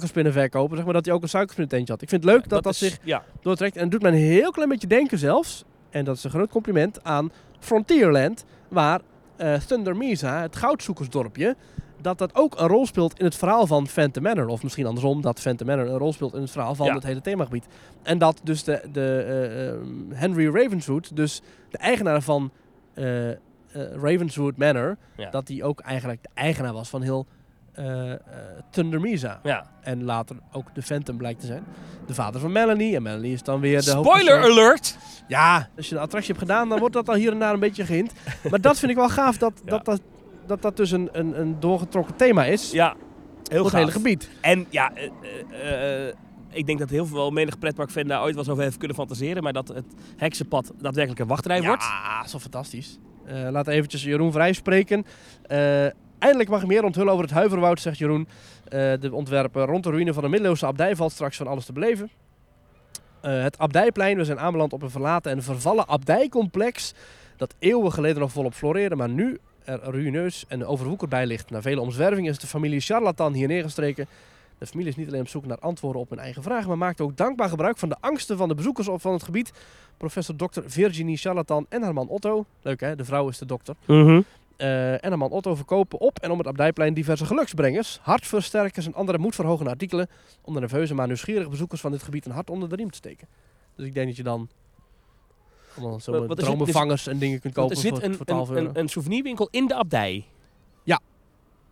suikerspinnenverkoper. Zeg maar dat hij ook een suikerspinnententje had. Ik vind het leuk dat dat, is- zich Ja, doortrekt. En het doet me een heel klein beetje denken zelfs, en dat is een groot compliment, aan Frontierland, waar eh Thunder Mesa, het goudzoekersdorpje, dat dat ook een rol speelt in het verhaal van Phantom Manor. Of misschien andersom, dat Phantom Manor een rol speelt in het verhaal van Ja. het hele themagebied. En dat dus de, de eh, eh, Henry Ravenswood, dus de eigenaar van eh, eh, Ravenswood Manor, Ja. dat die ook eigenlijk de eigenaar was van heel eh eh, Thunder Mesa. ja. En later ook de Phantom blijkt te zijn. De vader van Melanie. En Melanie is dan weer de Spoiler hoofdpersoon. alert! Ja, als je een attractie hebt gedaan, dan wordt dat al hier en daar een beetje gehind. Maar dat vind ik wel gaaf, dat [LAUGHS] Ja. dat, dat, dat, dat dus een, een, een doorgetrokken thema is. Ja, Heel het gaaf. hele gebied. En ja, eh, eh, eh, ik denk dat heel veel, menig pretparkfan daar ooit wel eens over heeft kunnen fantaseren. Maar dat het heksenpad daadwerkelijk een wachtrij wordt. Ja, dat is wel fantastisch. Eh laat eventjes Jeroen Vrij spreken. Eh, eindelijk mag ik meer onthullen over het Huiverwoud, zegt Jeroen. Eh, de ontwerpen rond de ruïne van de middeleeuwse abdij valt straks van alles te beleven. Eh, het abdijplein, we zijn aanbeland op een verlaten en vervallen abdijcomplex. Dat eeuwen geleden nog volop floreerde, maar nu er ruïneus en overwoekerd bij ligt. Na vele omzwervingen is de familie Charlatan hier neergestreken. De familie is niet alleen op zoek naar antwoorden op hun eigen vragen, maar maakt ook dankbaar gebruik van de angsten van de bezoekers op- van het gebied professor Dr. Virginie Charlatan en haar man Otto. Leuk hè, de vrouw is de dokter. Eh, en haar man Otto verkopen op en om het Abdijplein diverse geluksbrengers, hartversterkers en andere moedverhogende artikelen om de nerveuze maar nieuwsgierige bezoekers van dit gebied een hart onder de riem te steken. Dus ik denk dat je dan allemaal Wat- zo wat met is dit? dromenvangers en dingen kunt Want kopen er zit voor, een, voor 12 een, euro. een, een souvenirwinkel in de abdij. Ja.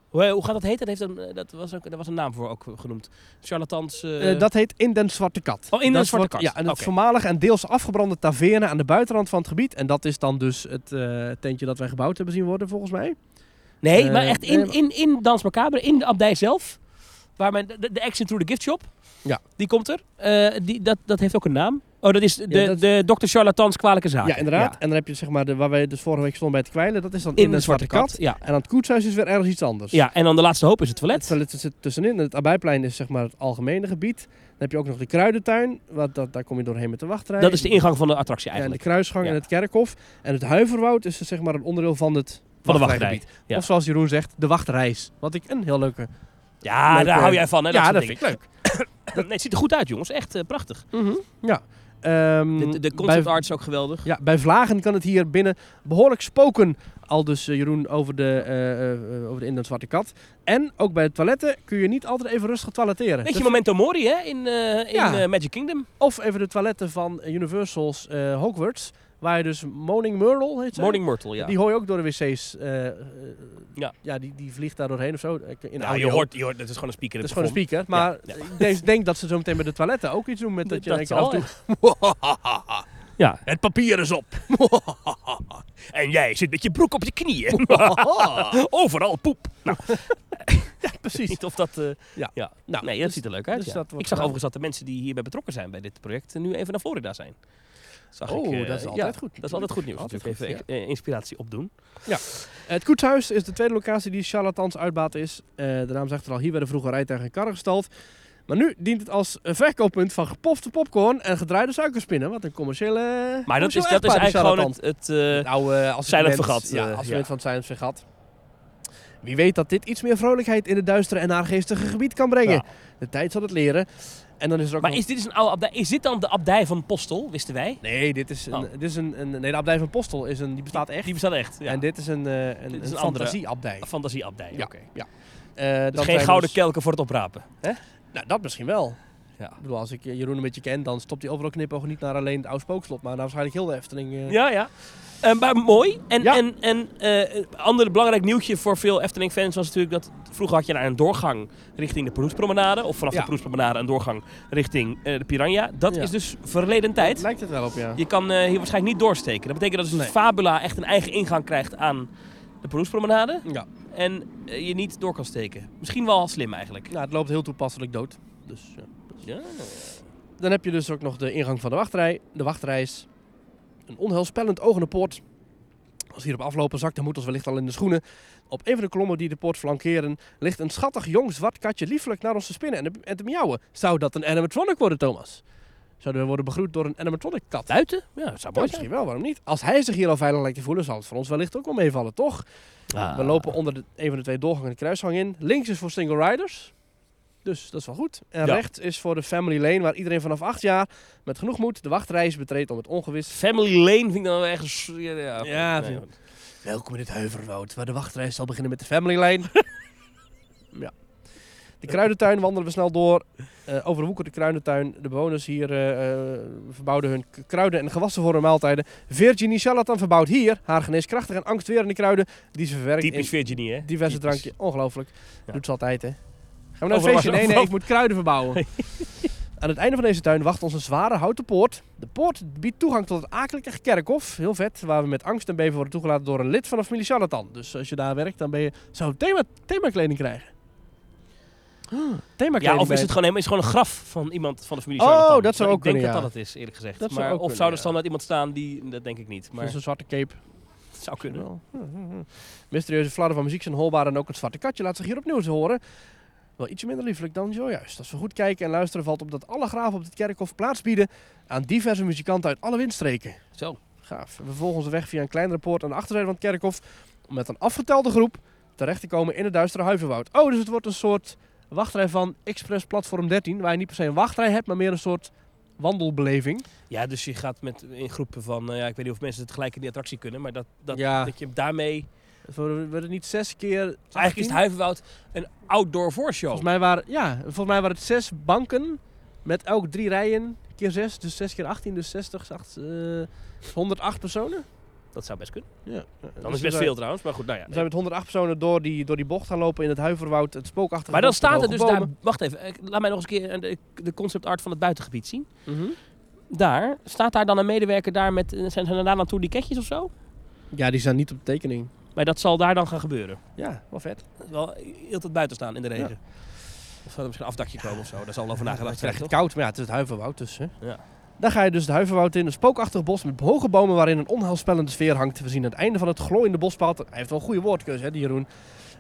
Hoe, hoe gaat dat heten? Dat, heeft een, eh, dat, was, ook, daar was een naam voor ook genoemd. Charlatans... eh, Eh, dat heet In den Zwarte Kat. Oh, In den Dat Zwarte wordt- Kat. Ja, en het Oké. voormalige en deels afgebrande taverne aan de buitenrand van het gebied. En dat is dan dus het eh, tentje dat wij gebouwd hebben zien worden, volgens mij. Nee, Eh, maar echt nee, in, maar- in, in Dans Macabre, in de abdij zelf. Waar men, de, de Action Through the Gift Shop, Ja. die komt er. Eh, die, dat, dat heeft ook een naam. Oh, dat is de, Ja, dat- de Dr. Charlatans kwalijke zaak. Ja, inderdaad. En dan heb je zeg maar de, waar wij dus vorige week stonden bij het kwijlen. Dat is dan in, In, de Zwarte Kat. Ja. En aan het koetshuis is weer ergens iets anders. ja, en dan de laatste hoop is het Het toilet. toilet zit tussenin. Het Abijplein is zeg maar het algemene gebied. Dan heb je ook nog de kruidentuin. Wat, dat, daar kom je doorheen met de wachtrij. Dat is de ingang van de attractie Ja, en de eigenlijk. kruisgang Ja. en het kerkhof. En het Huiverwoud is dus, zeg maar een onderdeel van het Van de wachtrijgebied. ja. Of zoals Jeroen zegt, de wachtreis. Wat ik een heel leuke... Ja, Leuk, daar eh, hou jij van. Hè, ja, soort dat dingen. vind ik leuk. Nee, het ziet er goed uit, jongens. Echt eh, prachtig. Ja. Ehm, De, de- de bij- concept art is ook geweldig. Ja, bij Vlagen kan het hier binnen behoorlijk spoken. Al dus eh, Jeroen over de, eh, eh, over de in de zwarte kat. En ook bij de toiletten kun je niet altijd even rustig toiletteren. Weet je Dus- Memento Mori, hè? In, eh, Ja. in eh, Magic Kingdom. of even de toiletten van Universal's eh, Hogwarts. Waar je dus Moaning Myrtle heet ze. Morning Myrtle, ja. Die hoor je ook door de wc's. eh, eh, Ja. ja die, die vliegt daar doorheen of zo. eh, In nou, audio. je hoort, je hoort, dat is gewoon een speaker. Dat is in gewoon het een speaker. Maar Ja. ik denk, denk dat ze zo meteen bij de toiletten ook iets [LAUGHS] doen. Met dat je Dat denkt oh, zal, af en [LAUGHS] toe... plafond. Ja, Het papier is op. [LAUGHS] En jij zit met je broek op je [LAUGHS] knieën. Overal poep. Nou, Oh, Precies. niet of [LAUGHS] dat... eh, Ja. ja. Nou, nee, dat ziet er leuk uit. dus ja. dat Ik wordt zag wel- overigens dat de mensen die hierbij betrokken zijn bij dit project eh, nu even naar Florida zijn. Zag ik, Oh, eh, dat is ja, altijd goed. Dat is altijd goed nieuws. Altijd natuurlijk. goed, even eh, inspiratie opdoen. Het Koetshuis is de tweede locatie die charlatans uitbaat is. Eh, de naam zegt er al, hier werden vroeger rijtuigen en karren gestald. Maar nu dient het als een verkooppunt van gepofte popcorn en gedraaide suikerspinnen. Wat een commerciële Maar dat is, commercieel dat is echtpaar, die eigenlijk gewoon charlatan. het... het eh, Nou, eh, als Silent het moment- Vergat, Ja, eh, als ja. het van het Silent Vergat. Wie weet dat dit iets meer vrolijkheid in het duistere en naargeestige gebied kan brengen. Ja. De tijd zal het leren. En dan is er ook maar nog- is dit, is, een oude abdij, is dit dan de abdij van Postel, wisten wij? Nee, dit is een, Oh. dit is een, een... Nee, de abdij van Postel is een, die bestaat echt. Die bestaat echt. Ja. En dit is een, eh een, Dit is een een andere- fantasieabdij. Fantasieabdij. Ja, oké. ja. Eh, Dus dan geen zijn gouden dus- kelken voor het oprapen. Nou, dat misschien wel. Ja. Ik bedoel, als ik eh, Jeroen een beetje ken, dan stopt hij overal knipoog niet naar alleen het oude spookslot, maar naar waarschijnlijk heel de Efteling. eh. Ja, ja. Eh, maar mooi. En, Ja. en, en eh, een ander belangrijk nieuwtje voor veel Efteling-fans was natuurlijk dat... Vroeger had je daar een doorgang richting de Proespromenade. Of vanaf Ja. de Proespromenade een doorgang richting eh, de Piranha. Dat Ja. is dus verleden tijd. Lijkt het wel op, ja. Je kan eh, hier waarschijnlijk niet doorsteken. Dat betekent dat dus Nee. Fabula echt een eigen ingang krijgt aan de Proespromenade. Ja. En eh, je niet door kan steken. Misschien wel slim eigenlijk. Nou, het loopt heel toepasselijk dood. Dus, ja. Ja. Dan heb je dus ook nog de ingang van de wachtrij. De wachtreis. Een onheilspellend ogende poort. Als hierop aflopen zakt de moeders wellicht al in de schoenen. Op een van de klommen die de poort flankeren ligt een schattig jong zwart katje liefelijk naar ons te spinnen en, en te miauwen. Zou dat een animatronic worden, Thomas? Zouden we worden begroet door een animatronic kat? Buiten? Ja, dat zou Ja, mooi zijn. misschien wel, waarom niet? Als hij zich hier al veilig lijkt te voelen, zal het voor ons wellicht ook wel meevallen, toch? Ah. We lopen onder de, een van de twee doorgangen de kruisgang in. Links is voor single riders, dus dat is wel goed. En Ja. rechts is voor de family lane, waar iedereen vanaf acht jaar met genoeg moed de wachtreis betreedt om het ongewis... Family Lane vind ik dan wel echt... Ja, ja, Ja, nee, vind ik- Welkom in het Heuverwoud, waar de wachtreis zal beginnen met de family lane. ja. De kruidentuin wandelen we snel door. Eh overwoekerde kruidentuin. De bewoners hier eh, eh, verbouwden hun k- kruiden en gewassen voor hun maaltijden. Virginie Charlatan verbouwt hier haar geneeskrachtige en angstwerende kruiden. Die ze verwerkt Typisch in Virginie, hè? diverse Typisch. drankjes. Ongelooflijk. Ja. Doet ze altijd, hè? Gaan we naar een Overal- feestje? Nee, nee, overal- ik moet kruiden [LAUGHS] verbouwen. Aan het einde van deze tuin wacht ons een zware houten poort. De poort biedt toegang tot het akelige kerkhof. Heel vet, waar we met angst en beven worden toegelaten door een lid van de familie Charlatan. Dus als je daar werkt, dan ben je, zou thema, themakleding krijgen. Thema Ja, of is het gewoon, nee, maar is het gewoon een graf van iemand van de familie Oh, Sarnatan? dat zou Maar ook Ik denk kunnen, dat ja. dat het is, eerlijk gezegd. Dat zou maar ook of kunnen, zou er ja. standaard iemand staan die... Dat denk ik niet, maar is een zwarte cape. het zou kunnen. Wel. Hm, Mysterieuze fladder van muziek zijn holbaar en ook het zwarte katje laat zich hier opnieuw te horen. Wel ietsje minder liefelijk dan zojuist. Als we goed kijken en luisteren valt op dat alle graven op dit kerkhof plaats bieden aan diverse muzikanten uit alle windstreken. Zo. Gaaf. We volgen onze weg via een kleinere poort aan de achterzijde van het kerkhof om met een afgetelde groep terecht te komen in het duistere huivenwoud. Oh, dus het wordt een soort wachtrij van Express Platform 13, waar je niet per se een wachtrij hebt, maar meer een soort wandelbeleving. Ja, dus je gaat met, in groepen van... eh, ja, ik weet niet of mensen het gelijk in die attractie kunnen, maar dat, dat, Ja. dat je daarmee... We het niet zes keer... Eigenlijk is het Huivenwoud een outdoor voorshow. Volgens mij waren, ja, volgens mij waren het zes banken met elk drie rijen keer zes. Dus zes keer 18, dus 60, acht, eh, 108 personen. Dat zou best kunnen. Ja. dus Dan is best veel trouwens, maar goed, nou ja. We zijn met 108 personen door die, door die bocht gaan lopen in het Huiverwoud, het spookachtige Maar dan bos met staat er hoge dus daar... bomen. Wacht even, eh, laat mij nog eens een keer eh, de, de concept art van het buitengebied zien. Mhm. Daar, staat daar dan een medewerker daar met... eh, Zijn ze daar dan tourniquetjes of zo? Ja, die staan niet op de tekening. Maar dat zal daar dan gaan gebeuren. Ja, wel vet. Dat is Wel heel tijd buiten staan in de regen. Of zou er misschien een afdakje komen of zo. Daar zal wel over Ja, het krijgt nagedacht zijn, het toch? koud, maar ja, het is het Huiverwoud dus. Hè. Ja. Dan ga je dus het Huiverwoud in, een spookachtig bos met hoge bomen waarin een onheilspellende sfeer hangt. We zien aan het einde van het glooiende bospad, hij heeft wel een goede woordkeuze hè, die Jeroen,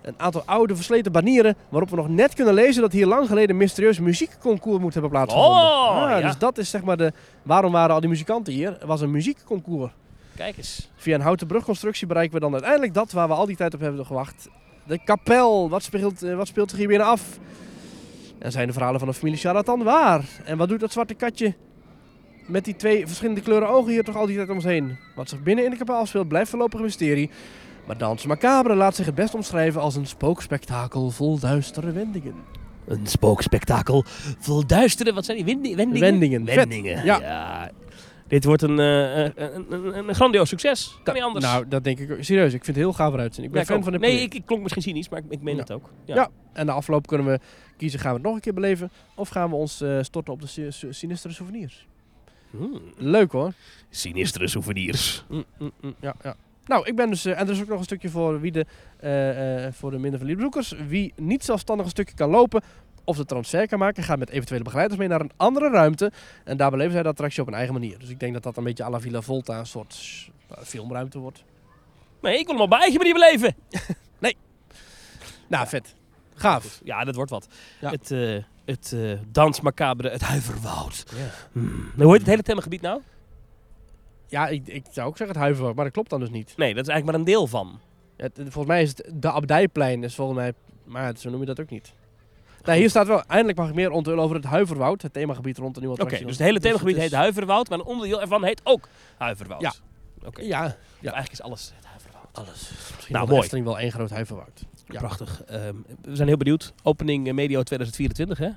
een aantal oude versleten banieren waarop we nog net kunnen lezen dat hier lang geleden een mysterieus muziekconcours moet hebben plaatsgevonden. Oh, Ah, ja. Dus dat is zeg maar de, waarom waren al die muzikanten hier? Er was een muziekconcours. Kijk eens. Via een houten brugconstructie bereiken we dan uiteindelijk dat waar we al die tijd op hebben gewacht. De kapel. Wat speelt, eh, wat speelt zich hier binnen af? En zijn de verhalen van de familie Charlatan waar? En wat doet dat zwarte katje met die twee verschillende kleuren ogen hier toch al die tijd om ons heen? Wat zich binnen in de kapel afspeelt blijft voorlopig een mysterie. Maar Dans Macabre laat zich het best omschrijven als een spookspektakel vol duistere wendingen. Een spookspektakel vol duisteren. Wat zijn die? Windi- Wendingen? Wendingen, vet. Wendingen, Ja. Ja. Dit wordt een, eh, eh, een, een, een grandioos succes. Kan niet anders. Nou, dat denk ik ook. Serieus, ik vind het heel gaaf eruit zien. Ik ben Ja, fan ook. van de Nee, project. ik, ik klonk misschien cynisch, maar ik, ik meen Ja. het ook. Ja. En na afloop kunnen we kiezen, gaan we het nog een keer beleven? Of gaan we ons eh, storten op de si- si- sinistere souvenirs? Hmm. Leuk hoor. Sinistere souvenirs. Mm, ja, ja. Nou, ik ben dus... eh, en er is ook nog een stukje voor, wie de, eh, eh, voor de minder valide bezoekers. Wie niet zelfstandig een stukje kan lopen of de transfer kan maken... gaat met eventuele begeleiders mee naar een andere ruimte. En daar beleven zij de attractie op een eigen manier. Dus ik denk dat dat een beetje à la Villa Volta een soort s- filmruimte wordt. Nee, ik wil hem op mijn eigen manier beleven. Nou, vet. Gaaf. Ja, dat wordt wat. Ja. Het, eh het eh, dansmacabre, het huiverwoud. Ja, Hmm. Hoe heet het hele themagebied nou? ik, ik zou ook zeggen het huiverwoud, maar dat klopt dan dus niet. Nee, dat is eigenlijk maar een deel van. Het, het- volgens mij is het de Abdijplein, is volgens mij, maar het- zo noem je dat ook niet. Nou, hier staat wel, eindelijk mag ik meer onthullen over het Huiverwoud, het themagebied rond de nieuwe Oké, attractie. dus het hele themagebied het heet is- Huiverwoud, maar een onderdeel ervan heet ook Huiverwoud. Ja. Oké. Ja, Dus Eigenlijk is alles het Huiverwoud. alles. Misschien Nou, nou, mooi. mooi. wel één groot Huiverwoud. Ja. Prachtig. Ehm, we zijn heel benieuwd. Opening eh, medio 2024, hè?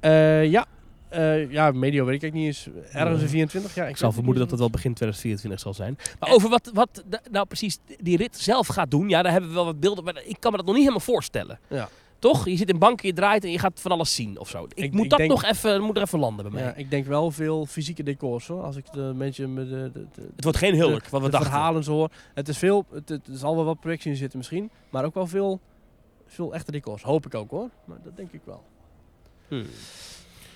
Eh, ja, Eh, ja, medio weet ik eigenlijk niet eens. Ergens in 24, ja. Ik zal vermoeden dat het wel begin 2024 zal zijn. Maar over wat, wat da- nou precies die rit zelf gaat doen, ja, daar hebben we wel wat beelden. Maar ik kan me dat nog niet helemaal voorstellen. Ja. Toch? Je zit in banken, je draait en je gaat van alles zien of zo. Ik, Ik- moet ik dat denk- nog even, moet er even landen bij mij. Ja, ik denk wel veel fysieke decors hoor. Als ik de mensen met de, de, de, Het wordt geen huwelijk, wat we de dachten. verhalen zo hoor. Het is veel, het, het zal wel wat projectie in zitten misschien, maar ook wel veel, veel echte decors. Hoop ik ook hoor, maar dat denk ik wel. Hmm.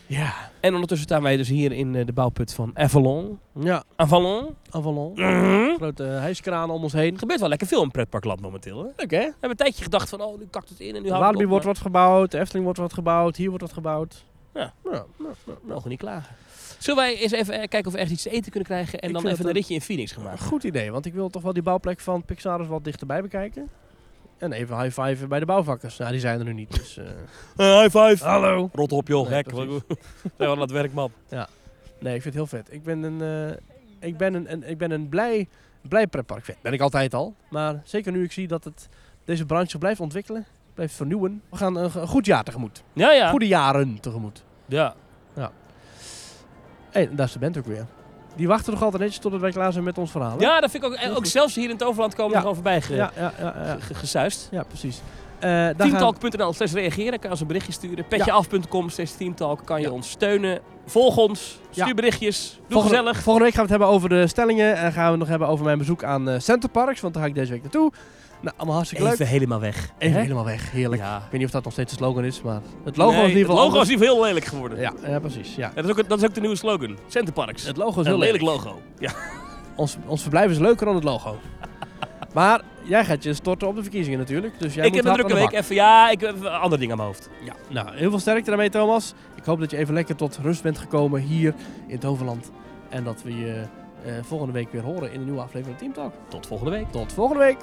Ja. En ondertussen staan wij dus hier in eh, de bouwput van Avalon. Ja, Avalon? Avalon. Mhm. Grote hijskraan om ons heen. Er gebeurt wel lekker veel in pretparkland momenteel. Hè? We Leuk hè? hebben een tijdje gedacht van, oh, nu kakt het in en nu houdt het Walibi op. wordt maar wat gebouwd, de Efteling wordt wat gebouwd, hier wordt wat gebouwd. Ja. ja, ja, ja, we ja. mogen niet klagen. Zullen wij eens even eh, kijken of we ergens iets te eten kunnen krijgen en Ik dan vind even een dat ritje in Phoenix gaan Maar een maken? goed idee, want ik wil toch wel die bouwplek van Pixar eens wat dichterbij bekijken. En even high five bij de bouwvakkers. Nou, die zijn er nu niet. Dus, eh, high five! [LAUGHS] Hallo! Rot op joh, Ah. Nee, gek. precies. We [LAUGHS] zijn aan het werk man. Nee, ik vind het heel vet. Ik ben een, eh, ik ben een, een- ik ben een blij, blij pretpark vet. Ben ik altijd al. Maar zeker nu ik zie dat het, deze branche blijft ontwikkelen, blijft vernieuwen. We gaan een, een goed jaar tegemoet. Ja, ja. Goede jaren tegemoet. Ja. Hé, daar is de band ook weer. Die wachten toch altijd netjes totdat wij klaar zijn met ons verhaal. hè? ja, dat vind ik ook. en Ook zelfs hier in het overland komen Ja. er gewoon voorbij ge, ja, ja, ja, ja. ge- gesuist. Ja, precies. eh, daar gaan- Teamtalk.nl slash reageren, kan je ons een berichtje sturen. Petjeaf.com slash teamtalk, kan je Ja. ons steunen. Volg ons, stuur Ja. berichtjes, doe volgende, gezellig. Volgende week gaan we het hebben over de stellingen. En gaan we het nog hebben over mijn bezoek aan eh Centerparks. Want daar ga ik deze week naartoe. Nou, allemaal hartstikke leuk. helemaal weg. Even hè? helemaal weg. Heerlijk. Ja. Ik weet niet of dat nog steeds de slogan is, maar het logo Nee, is in ieder het geval logo is in ieder geval heel lelijk geworden. anders. Ja, ja, precies. Ja. Ja, dat, is ook, dat is ook de nieuwe slogan. Centerparks. Het logo is een heel lelijk lelijk. logo. Ja. Ons, ons verblijf is leuker dan het [LAUGHS] logo. maar jij gaat je storten op de verkiezingen natuurlijk. Dus jij ik moet heb een hard drukke aan week. de Even, ja, ik heb even andere dingen aan mijn hoofd. bak. Ja. Nou, heel veel sterkte daarmee Thomas. Ik hoop dat je even lekker tot rust bent gekomen hier in het Overland. En dat we je eh, volgende week weer horen in de nieuwe aflevering van Team Talk. Tot volgende week. Tot volgende week.